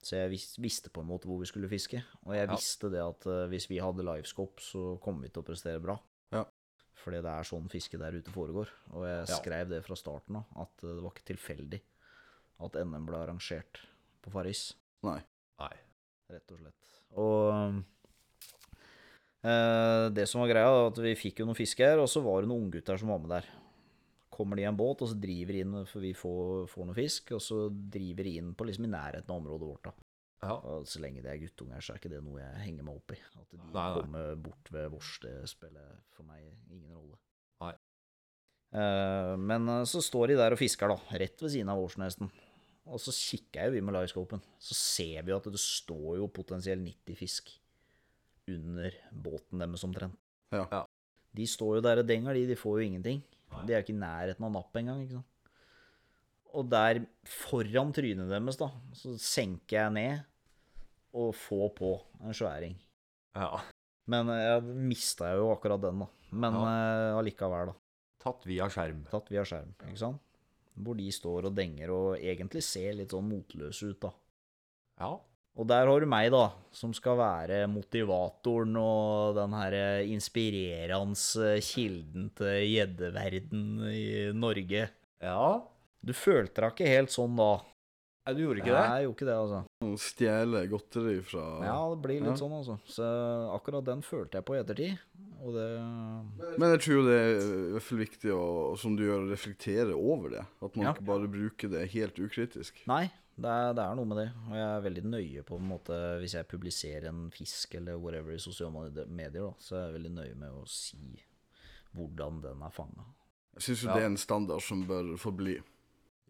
S4: Så jeg vis, visste på en måte hvor vi skulle fiske. Og jeg
S3: Ja.
S4: visste det at eh, hvis vi hadde livescope, så kom vi til å prestere bra.
S2: Ja.
S4: Fordi det er sånn fiske der ute foregår. Og jeg
S3: Ja.
S4: skrev det fra starten av, at eh, det var ikke tilfeldig at NM ble arrangert på Farris
S2: Nei.
S3: Nei.
S4: rett og slett. Og eh, det som var greia, var at vi fikk jo noen fisk her, og så var det noen unggutter som var med der. Kommer de i en båt, og så driver de inn, for vi får, får noe fisk, og så driver de inn på liksom i nærheten av området vårt. da.
S3: Ja.
S4: Og så lenge det er guttunger, så er ikke det noe jeg henger meg opp i. At de
S3: Nei, nei.
S4: kommer bort ved vårs, det spiller for meg ingen rolle.
S3: Nei.
S4: Eh, men eh, så står de der og fisker, da. Rett ved siden av vårs, nesten. Og så kikker jeg jo vi med livescopen. Så ser vi jo at det står jo potensielt 90 fisk under båten deres omtrent.
S2: Ja.
S3: Ja.
S4: De står jo der og denger, de. De får jo ingenting.
S3: Nei.
S4: De er jo ikke i nærheten av napp engang. ikke sant? Og der foran trynet deres, da, så senker jeg ned og får på en sværing.
S3: ja.
S4: Men eh, jeg mista jo akkurat den, da. Men eh, allikevel, da.
S3: Tatt via skjerm.
S4: Tatt via skjerm, ikke sant. Hvor de står og denger og egentlig ser litt sånn motløse ut, da.
S3: Ja.
S4: Og der har du meg, da, som skal være motivatoren og den her eh, inspirerende eh, kilden til gjeddeverden i Norge.
S3: ja.
S4: Du følte deg ikke helt sånn da?
S3: Nei, du gjorde ikke det?
S4: Nei, jo ikke det, altså.
S2: Å Stjele godteri fra
S4: Ja, det blir litt
S2: Ja.
S4: sånn, altså. Så akkurat den følte jeg på i ettertid, og det
S2: Men jeg tror jo det er i hvert fall viktig å, som du gjør, å reflektere over det. At man
S4: Ja.
S2: ikke bare bruker det helt ukritisk.
S4: Nei, det er, det er noe med det. Og jeg er veldig nøye på en måte Hvis jeg publiserer en fisk eller whatever i sosiale medier, da, så er jeg veldig nøye med å si hvordan den er fanga.
S2: Jeg syns jo
S3: Ja.
S2: det er en standard som bør forbli.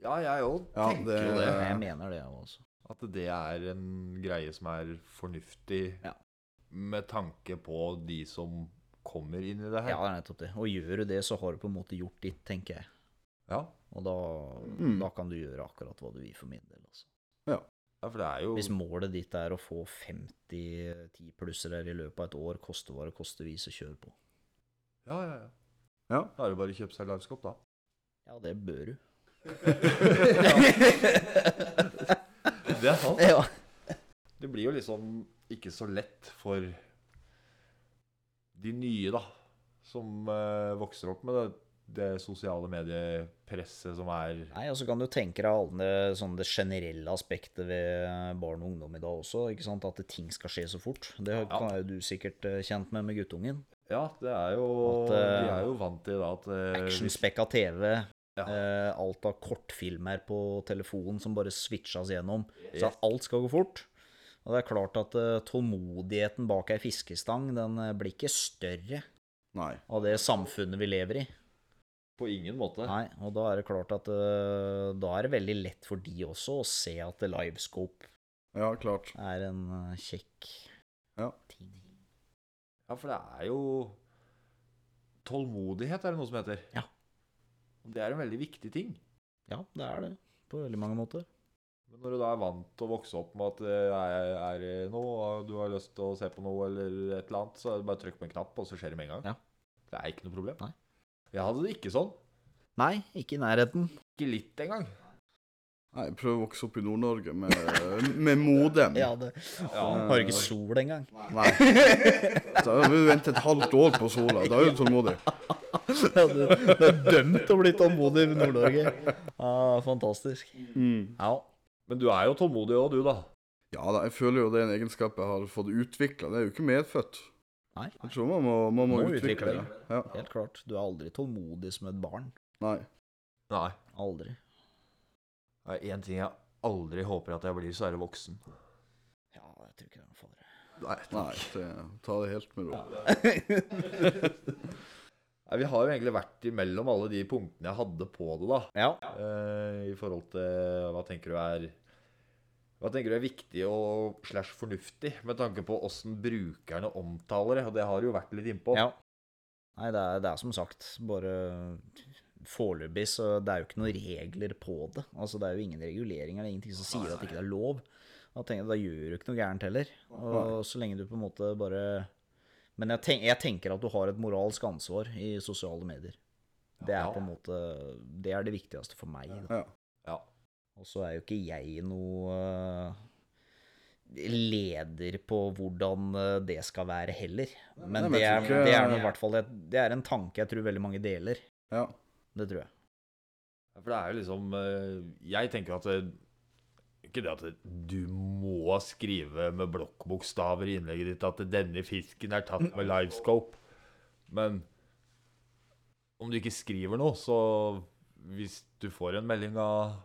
S3: Ja, jeg òg
S2: Ja,
S3: tenker
S2: det-
S3: jo det.
S4: Jeg mener det, jeg også.
S3: At det er en greie som er fornuftig
S4: Ja.
S3: med tanke på de som kommer inn i det
S4: Ja,
S3: her.
S4: det er nettopp det. Og gjør du det, så har du på en måte gjort ditt, tenker jeg.
S3: Ja.
S4: Og da,
S2: Mm.
S4: da kan du gjøre akkurat hva du vil, for min del. Altså.
S3: Ja, for det er jo
S4: Hvis målet ditt er å få 50 10-plussere i løpet av et år, koste hva det koste, vis og kjør på.
S3: Ja, ja, ja.
S2: Ja.
S3: Da er det bare å kjøpe seg livescope, da. [LAUGHS]
S4: Ja, det bør du. [LAUGHS]
S3: Det er sant.
S4: Ja.
S3: Det blir jo liksom ikke så lett for de nye, da, som eh, vokser opp med det, det sosiale mediepresset som er
S4: Nei, og så kan du tenke deg alle sånn det generelle aspektet ved barn og ungdom i dag også, ikke sant? at ting skal skje så fort. Det
S3: Ja.
S4: kan er jo du sikkert eh, kjent med med guttungen.
S3: Ja, det er jo
S4: At, eh,
S3: De er jo vant til da at eh, hvis-
S4: Actionspekka TV,
S3: Ja.
S4: eh, alt av kortfilmer på telefonen som bare switchas gjennom. Så
S3: Yes.
S4: alt skal gå fort. Og det er klart at eh, tålmodigheten bak ei fiskestang den eh, blir ikke større
S2: Nei.
S4: av det samfunnet vi lever i.
S3: På ingen måte.
S4: Nei, og da er det klart at eh, da er det veldig lett for de også å se at livescope
S2: Ja, klart.
S4: er en eh, kjekk
S2: Ja.
S4: ting.
S3: Ja, for det er jo Tålmodighet er det noe som heter.
S4: Ja.
S3: Og Det er en veldig viktig ting.
S4: Ja, det er det. På veldig mange måter.
S3: Men når du da er vant til å vokse opp med at det er, er det noe, og du har lyst til å se på noe eller et eller annet, så er det bare å trykke på en knapp, og så skjer det med en gang.
S4: Ja.
S3: Det er ikke noe problem.
S4: Nei.
S3: Jeg hadde det ikke sånn.
S4: Nei, ikke i nærheten.
S3: Ikke litt engang.
S2: Nei, prøv å vokse opp i Nord-Norge med, med [LAUGHS] modem.
S4: Ja, det
S3: Ja.
S4: har ikke sol [LAUGHS] engang.
S2: Nei. Da har vi ventet et halvt år på sola. Da er du tålmodig.
S4: [LAUGHS] Ja, du, du er dømt til å bli tålmodig i Nord-Norge. Ja, fantastisk. Ja.
S3: Men du er jo tålmodig òg, du, da.
S2: Mm. Ja da, jeg føler jo det er en egenskap jeg har fått utvikla. Det er jo ikke medfødt.
S4: Nei,
S2: Jeg tror man må, man må,
S4: Må utvikle
S2: utvikle det.
S4: det.
S2: Ja.
S4: helt klart. Du er aldri tålmodig som et barn.
S2: Nei.
S3: Nei.
S4: Aldri.
S3: Det er én ting jeg aldri håper at jeg blir, så er det voksen.
S4: Ja, jeg tror ikke det er noen fare.
S2: Nei, det, ta det helt med ro.
S3: Nei, Vi har jo egentlig vært imellom alle de punktene jeg hadde på det, da.
S4: Ja.
S3: Eh, I forhold til hva tenker du er Hva tenker du er viktig og slash fornuftig med tanke på åssen brukerne omtaler det? Og det har du jo vært litt innpå.
S4: ja. Nei, det er, det er som sagt bare Foreløpig så det er jo ikke noen regler på det. Altså, Det er jo ingen reguleringer, det er ingenting som sier at det ikke er lov. Da tenker jeg, da gjør du ikke noe gærent heller. Og så lenge du på en måte bare Men jeg, tenk, jeg tenker at du har et moralsk ansvar i sosiale medier. Det er
S3: Ja.
S4: på en måte Det er det viktigste for meg. Da.
S2: Ja.
S3: Ja.
S4: Og så er jo ikke jeg noe eh, leder på hvordan eh, det skal være heller. Men
S2: Nei, men
S4: det
S2: jeg
S4: er,
S2: tror ikke-
S4: det er nå i hvert fall et, Det er en tanke jeg tror veldig mange deler.
S2: ja.
S4: Det tror jeg.
S3: For det er jo liksom eh, Jeg tenker at det, Ikke det at det, du må skrive med blokkbokstaver i innlegget ditt at 'denne fisken er tatt med livescope', men om du ikke skriver noe, så hvis du får en melding av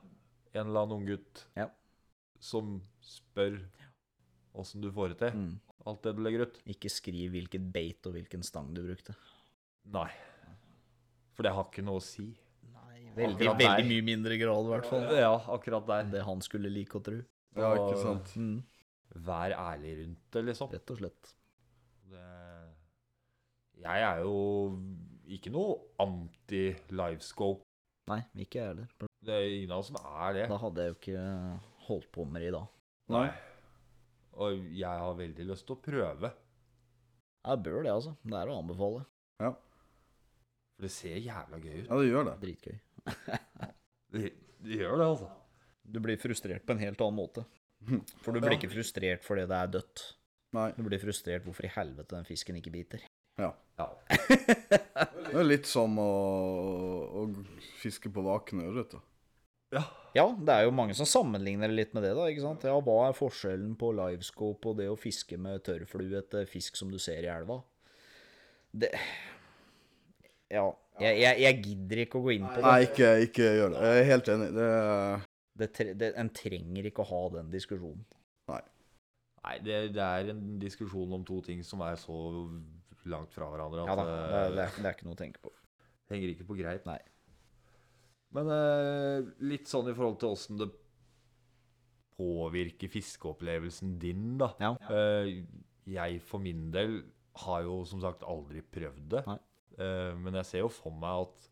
S3: en eller annen unggutt
S4: Ja.
S3: som spør åssen du får det til,
S4: Mm.
S3: alt det du legger ut
S4: Ikke skriv hvilket beit og hvilken stang du brukte.
S3: Nei. For det har ikke noe å si.
S4: Nei, veldig,
S3: Akkurat
S4: veldig
S3: der.
S4: mye mindre grad, i hvert fall.
S3: Ja, akkurat der.
S4: Det han skulle like å tro.
S2: ja, ikke sant.
S4: Mm,
S3: Vær ærlig rundt det, liksom.
S4: rett og slett.
S3: Det... Jeg er jo ikke noe anti-livescope.
S4: Nei, ikke jeg heller.
S3: Det er ingen av oss som er det.
S4: Da hadde jeg jo ikke holdt på med det i dag.
S2: Nei.
S3: Og jeg har veldig lyst til å prøve.
S4: Jeg bør det, altså. Det er å anbefale.
S3: For det ser jævla gøy ut.
S2: Ja, det gjør det.
S4: Dritgøy. [LAUGHS]
S3: Det, det gjør det, altså.
S4: Du blir frustrert på en helt annen
S3: [LAUGHS]
S4: måte. For du blir ikke frustrert fordi det er dødt.
S2: Nei.
S4: Du blir frustrert hvorfor i helvete den fisken ikke biter.
S3: Ja.
S2: Det er litt som å, å fiske på vakne ørret. da.
S4: Ja, det er jo mange som sammenligner det litt med det, da. ikke sant? Ja, Hva er forskjellen på livescope og det å fiske med tørrflue etter fisk som du ser i elva? Det Ja. Jeg, jeg, jeg gidder ikke å gå inn på det.
S2: Nei, ikke, ikke gjør det. Jeg er helt enig. Det er
S4: det, tre, det en trenger ikke å ha den diskusjonen.
S3: Nei, det, det er en diskusjon om to ting som er så langt fra hverandre at eh,
S4: Ja da, det, er- det,
S3: det
S4: er, det er ikke noe å tenke på.
S3: henger ikke på greit.
S4: Nei.
S3: Men eh, litt sånn i forhold til åssen det påvirker fiskeopplevelsen din, da.
S4: Ja.
S3: Eh, jeg for min del har jo som sagt aldri prøvd det.
S4: Nei.
S3: Eh, men jeg ser jo for meg at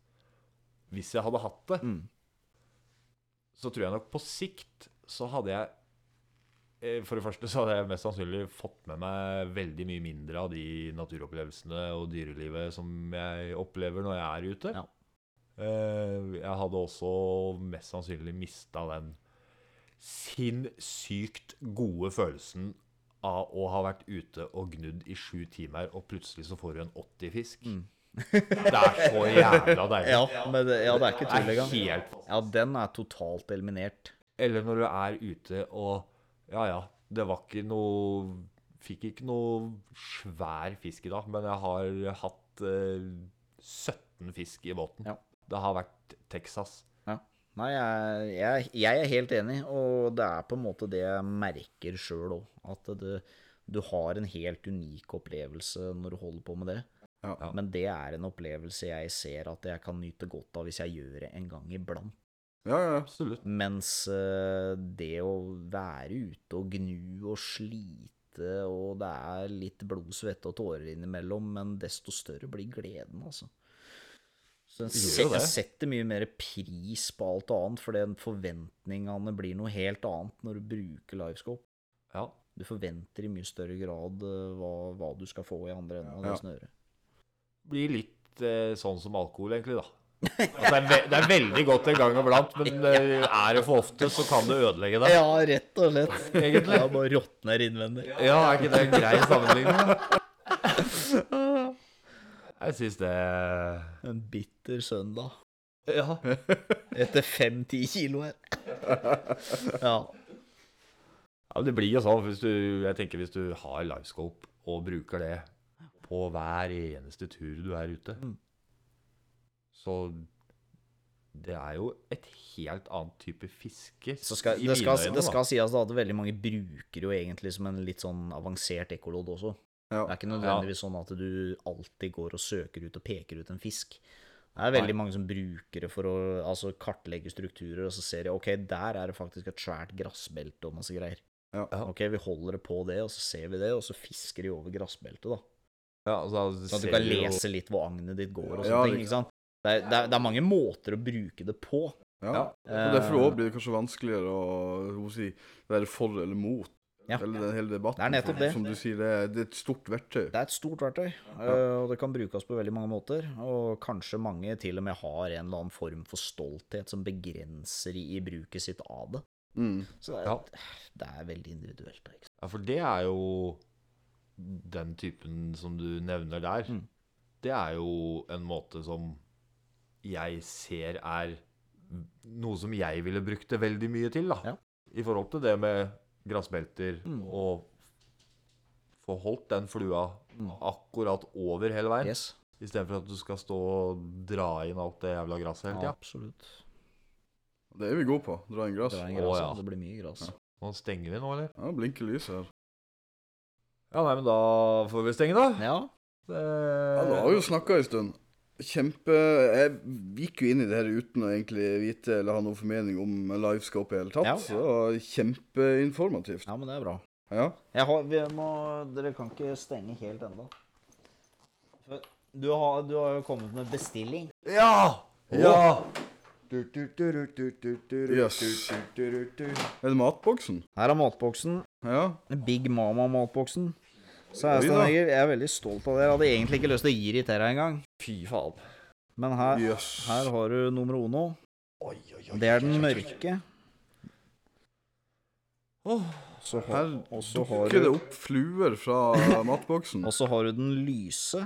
S3: hvis jeg hadde hatt det,
S4: Mm.
S3: så tror jeg nok på sikt så hadde jeg eh, For det første så hadde jeg mest sannsynlig fått med meg veldig mye mindre av de naturopplevelsene og dyrelivet som jeg opplever når jeg er ute.
S4: Ja.
S3: Eh, jeg hadde også mest sannsynlig mista den sinnssykt gode følelsen av å ha vært ute og gnudd i sju timer, og plutselig så får du en 80-fisk. det er så jævla deilig.
S4: Mm. Ja, men det, ja, det er ikke
S3: det
S4: tull
S3: er
S4: engang.
S3: helt
S4: Ja, den er totalt eliminert.
S3: Eller når du er ute og Ja, ja, det var ikke noe Fikk ikke noe svær fisk i dag, men jeg har hatt eh, 17 fisk i båten.
S4: Ja.
S3: Det har vært Texas.
S4: Ja. Nei, jeg, jeg, jeg er helt enig, og det er på en måte det jeg merker sjøl òg. At det, du har en helt unik opplevelse når du holder på med det.
S2: Ja.
S4: Men det er en opplevelse jeg ser at jeg kan nyte godt av hvis jeg gjør det en gang iblant.
S2: Ja, ja.
S3: Absolutt.
S4: Mens eh, det å være ute og gnu og slite, og det er litt blod, svette og tårer innimellom, men desto større blir gleden, altså. Så en,
S3: Gjør
S4: se,
S3: jo det.
S4: en setter mye mer pris på alt annet, for den forventningene blir noe helt annet når du bruker livescope.
S3: Ja.
S4: Du forventer i mye større grad eh, hva, hva du skal få i andre enden av
S2: Ja.
S4: det snøret.
S3: Blir litt eh, sånn som alkohol, egentlig, da. Altså, det, er ve det er veldig godt en gang iblant, men eh, er det for ofte, så kan det ødelegge deg.
S4: Ja, rett og slett.
S3: [LAUGHS] Egentlig.
S4: Ja, bare råtner innvendig.
S3: Ja, er ikke det en grei sammenligning? Jeg syns det
S4: En bitter søndag.
S3: Ja. [LAUGHS]
S4: Etter fem-ti kilo
S2: [LAUGHS]
S4: her. Ja.
S3: Ja, men det blir jo sånn hvis du, jeg tenker hvis du har livescope og bruker det på hver eneste tur du er ute,
S4: Mm.
S3: så det er jo et helt annet type fiske
S4: Så skal,
S3: i
S4: det,
S3: mine
S4: skal,
S3: øyne,
S4: det
S3: da.
S4: skal sies da at veldig mange bruker jo egentlig som en litt sånn avansert ekkolodd også.
S2: Ja.
S4: Det er ikke nødvendigvis sånn at du alltid går og søker ut og peker ut en fisk. Det er veldig mange som bruker det for å altså, kartlegge strukturer, og så ser de ok, der er det faktisk et svært grassbelte og masse greier.
S2: Ja.
S3: Ja.
S4: Ok, vi holder det på det, og så ser vi det, og så fisker de over grassbeltet, da.
S3: Ja, altså,
S4: Sånn at
S3: ser
S4: du kan
S3: jo-
S4: lese litt hvor agnet ditt går og
S2: Ja,
S4: sånne ting. ikke sant? Det er, det, er, det er mange måter å bruke det på.
S2: Ja. Og Derfor
S4: Eh.
S2: også blir det kanskje vanskeligere å hva skal jeg si, være for eller mot.
S4: Ja.
S2: Eller den hele debatten.
S4: Det er nettopp
S2: for
S4: det.
S2: Som du sier, det er, det er et stort verktøy.
S4: Det er et stort verktøy, eh, og det kan brukes på veldig mange måter. Og kanskje mange til og med har en eller annen form for stolthet som begrenser i i bruket sitt av det.
S2: Mm.
S4: Så det er,
S3: Ja.
S4: det er veldig individuelt. da, Ikke sant?
S3: Ja, for det er jo den typen som du nevner der.
S4: Mm.
S3: Det er jo en måte som jeg ser er noe som jeg ville brukt det veldig mye til, da.
S4: Ja.
S3: I forhold til det med gressbelter
S4: Mm.
S3: og få holdt den flua akkurat over hele veien.
S4: Yes,
S3: Istedenfor at du skal stå og dra inn alt det jævla gresset hele tida.
S4: absolutt.
S2: Det er vi gode på. Dra inn gress.
S4: Det, er en
S3: Å,
S4: gras,
S3: ja.
S4: ja. det blir mye gras.
S3: Nå stenger vi nå, eller?
S2: Ja, blinker lyset her.
S3: Ja, nei, men da får vi stenge, da.
S4: Ja,
S2: Ja,
S3: Det-
S2: nå har vi jo snakka en stund. Kjempe Jeg gikk jo inn i det her uten å egentlig vite eller ha noen formening om livescope i det hele tatt.
S4: Ja.
S2: Så det var kjempeinformativt.
S4: ja, men det er bra.
S2: Ja.
S4: Jeg har, vi må, dere kan ikke stenge helt ennå. For Du har, du har jo kommet med bestilling.
S3: Ja! Ja!
S2: Yes. Er det matboksen?
S4: Her er matboksen.
S2: Ja.
S4: Big Mama-matboksen. Så
S2: Oi
S4: jeg,
S2: da.
S4: jeg er veldig stolt av det. Jeg hadde egentlig ikke lyst til å gi det til deg engang.
S3: Fy faen.
S4: Men her,
S2: Jøss.
S4: her har du nummer uno.
S3: Oi, oi, oi.
S4: Det er den mørke.
S3: Åh.
S4: Så har,
S2: Her
S4: og så har
S2: dukker det
S4: du,
S2: opp fluer fra
S4: [LAUGHS]
S2: matboksen.
S4: og så har du den lyse.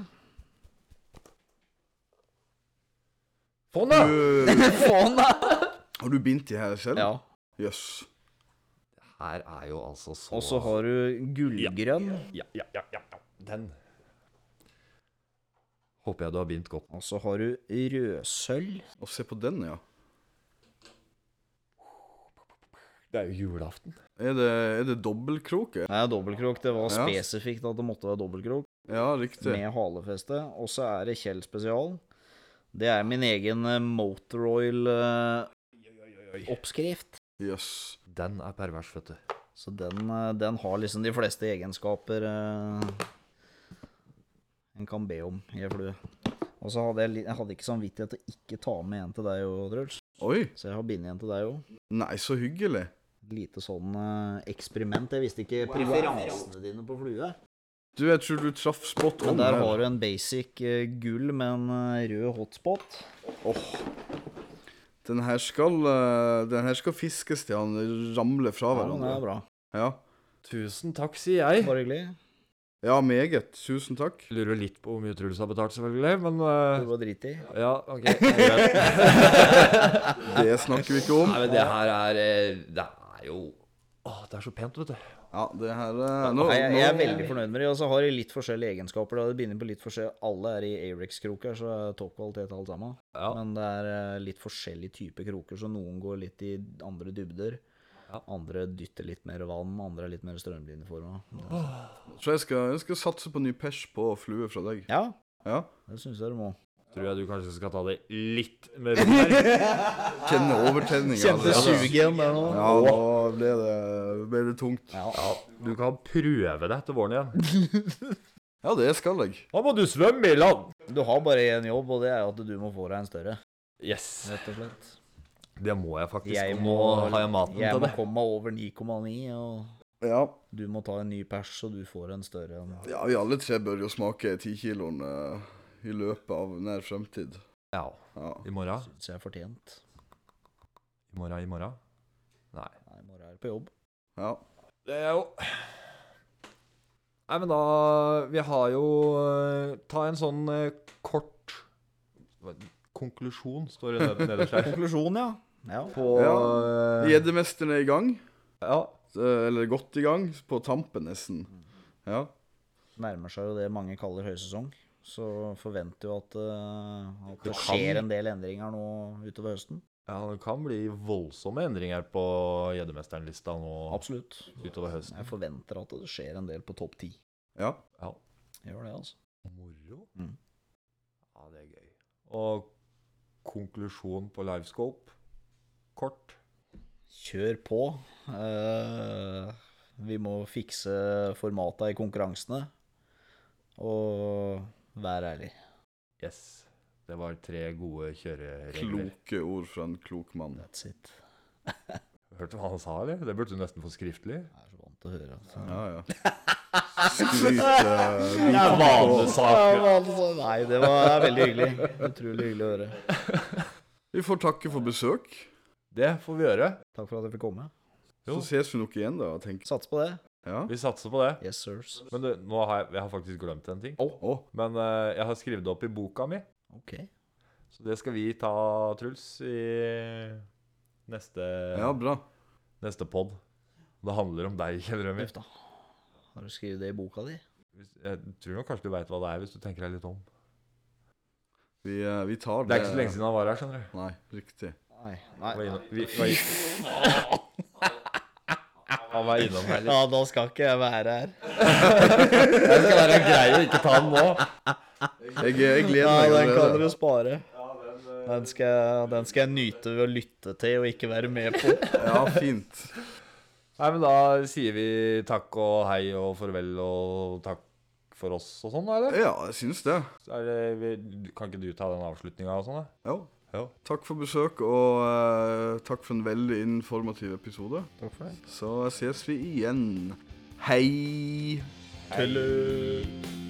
S2: [LAUGHS]
S3: Sånn, ja!
S2: Du,
S4: Faen, da!
S2: har du bindt de her selv?
S4: Ja.
S2: Jøss.
S3: Her er jo altså så
S4: Og så har du gullgrønn.
S3: ja, ja, ja, ja, ja. Den. Håper jeg du har bindt godt.
S4: Og så har du rødsølv.
S2: Og se på den, ja.
S3: Det er jo julaften.
S2: Er det, er det dobbeltkroke?
S4: Det er dobbeltkrok. Det var
S2: Ja.
S4: spesifikt at det måtte være dobbeltkrok
S2: Ja, riktig.
S4: med halefeste. Og så er det Kjell spesial. Det er min egen eh, motoroil-oppskrift.
S2: Jøss.
S3: Den er pervers, vet du.
S4: Så den, eh, den har liksom de fleste egenskaper eh, en kan be om i ei flue. Og så hadde jeg, li- jeg hadde ikke samvittighet til å ikke ta med en til deg òg, Truls.
S2: Oi.
S4: Så jeg har bindet en til deg òg.
S2: Nei, så hyggelig.
S4: Lite sånn eh, eksperiment. Jeg visste ikke preferansene dine på flue.
S2: Du, jeg tror du traff spot
S4: Men
S2: on
S4: der
S2: her.
S4: har du en basic eh, gull med en eh, rød hotspot.
S2: Den her skal, eh, den her skal fiskes til han ramler fra
S4: Ja, men det er
S2: hverandre.
S4: bra.
S2: Ja,
S3: Tusen takk, sier jeg.
S4: Bare hyggelig.
S2: ja meget. Tusen takk.
S3: Lurer litt på hvor mye Truls har betalt, selvfølgelig, men
S4: Du
S3: eh,
S4: var driti.
S3: Ja, OK. Greit.
S2: Det snakker vi ikke om.
S3: Nei, men det her er eh, Det er jo Åh, det er så pent, vet du.
S2: Ja, det her eh, nå,
S4: Nei, jeg, jeg er
S2: nå,
S4: veldig fornøyd med det. Og så har de litt forskjellige egenskaper. Da. Det begynner på litt forskjell. Alle er i Arix-kroker, så det er toppkvalitet alt sammen.
S3: Ja.
S4: Men det er eh, litt forskjellige typer kroker, så noen går litt i andre dybder.
S3: Ja.
S4: Andre dytter litt mer vann, andre er litt mer strømlinjeforma.
S2: Så jeg skal, jeg skal satse på ny pers på flue fra deg.
S4: Ja,
S2: Ja.
S4: det syns jeg du må.
S3: Tror jeg du kanskje skal ta det litt med ro her.
S2: Kjenne overtenninga.
S4: Kjente suget igjen der nå.
S2: Ja, nå ble det, ble det tungt.
S4: Ja.
S3: Du kan prøve deg til våren igjen.
S2: Ja, det skal jeg.
S3: Da må du svømme i land!
S4: Du har bare én jobb, og det er at du må få deg en større,
S3: Yes.
S4: rett og slett.
S3: Det må jeg faktisk.
S4: Jeg
S3: og
S4: må,
S3: nå har jeg maten
S4: jeg
S3: til
S4: må
S3: det.
S4: komme meg over 9,9, og
S2: Ja.
S4: du må ta en ny pers, så du får en større. enn-
S2: ja, vi alle tre bør jo smake tikiloen uh, i løpet av nær fremtid.
S3: Ja.
S2: Ja.
S3: I morgen?
S4: Syns jeg er fortjent.
S3: I morgen, i morgen? Nei.
S4: Nei, i morgen er jeg på jobb.
S2: ja.
S3: Det er jo Nei, men da Vi har jo eh, Ta en sånn eh, kort Konklusjon, står det ned- nederst her.
S4: Konklusjon, ja. ja.
S3: På eh,
S2: Gjeddemesteren er i gang.
S3: [LAUGHS] Ja.
S2: eh, Eller godt i gang. På tampen, nesten.
S3: Mm.
S2: Ja.
S4: nærmer seg jo det mange kaller høysesong. Så forventer jo at, eh, at
S3: Det
S4: det
S3: kan-
S4: skjer en del endringer nå utover høsten.
S3: ja, det kan bli voldsomme endringer på Gjeddemesteren-lista nå
S4: Absolutt.
S3: utover høsten.
S4: Jeg forventer at det skjer en del på topp ti.
S2: ja.
S3: Ja.
S4: Gjør det, altså.
S3: Moro.
S4: Mm.
S3: Ja, det er gøy. Og konklusjon på Livescope kort.
S4: Kjør på. Eh, vi må fikse formata i konkurransene. Og vær ærlig.
S3: Yes. Det var tre gode kjøreregler.
S2: Kloke ord fra en klok mann.
S4: That's it.
S3: Hørte du hva han sa, eller? Det burde du nesten få skriftlig.
S4: Jeg er så vant til å høre. Altså.
S2: Ja, ja.
S3: [LAUGHS]
S2: Skryt eh,
S3: Det er vanesak.
S4: Nei, det var veldig hyggelig. Utrolig hyggelig å høre.
S2: Vi får takke for besøk.
S3: Det får vi gjøre.
S4: Takk for at jeg fikk komme.
S3: Jo.
S2: Så ses vi nok igjen, da. tenker jeg.
S4: Sats på det.
S2: Ja.
S3: Vi satser på det.
S4: Yes, sirs.
S3: Men du, nå har jeg, jeg har faktisk glemt en ting.
S2: Å,
S3: Men eh, jeg har skrevet det opp i boka mi.
S4: Ok.
S3: Så det skal vi ta, Truls, i neste,
S2: ja, bra.
S3: neste pod. Det handler om deg, kjenner du meg.
S4: Uff da. Har du skrevet det i boka di?
S3: Hvis- Jeg tror nok kanskje du veit hva det er, hvis du tenker deg litt om.
S2: Vi, eh, vi tar det
S3: Det er ikke så lenge siden han var her, skjønner du.
S2: Nei, riktig.
S4: Nei. Nei.
S3: Han var innom, vi, var innom. Han var innom her litt.
S4: Ja, da skal ikke jeg være her.
S3: Det skal være greit å ikke ta den nå.
S2: Jeg, eh, jeg gleder
S4: Ja,
S2: meg
S4: den kan
S2: allerede.
S4: dere spare. Den skal, den skal jeg nyte ved å lytte til og ikke være med på.
S2: Ja, fint.
S3: Nei, men da sier vi takk og hei og farvel og takk for oss og sånn, da, eller?
S2: Ja, jeg syns det.
S3: Så Er det, vi, kan ikke du ta den avslutninga og sånn, da?
S2: Ja.
S3: Ja.
S2: Takk for besøk, og eh, takk for en veldig informativ episode.
S3: Takk for det.
S2: Så ses vi igjen. Hei!
S4: Tuller.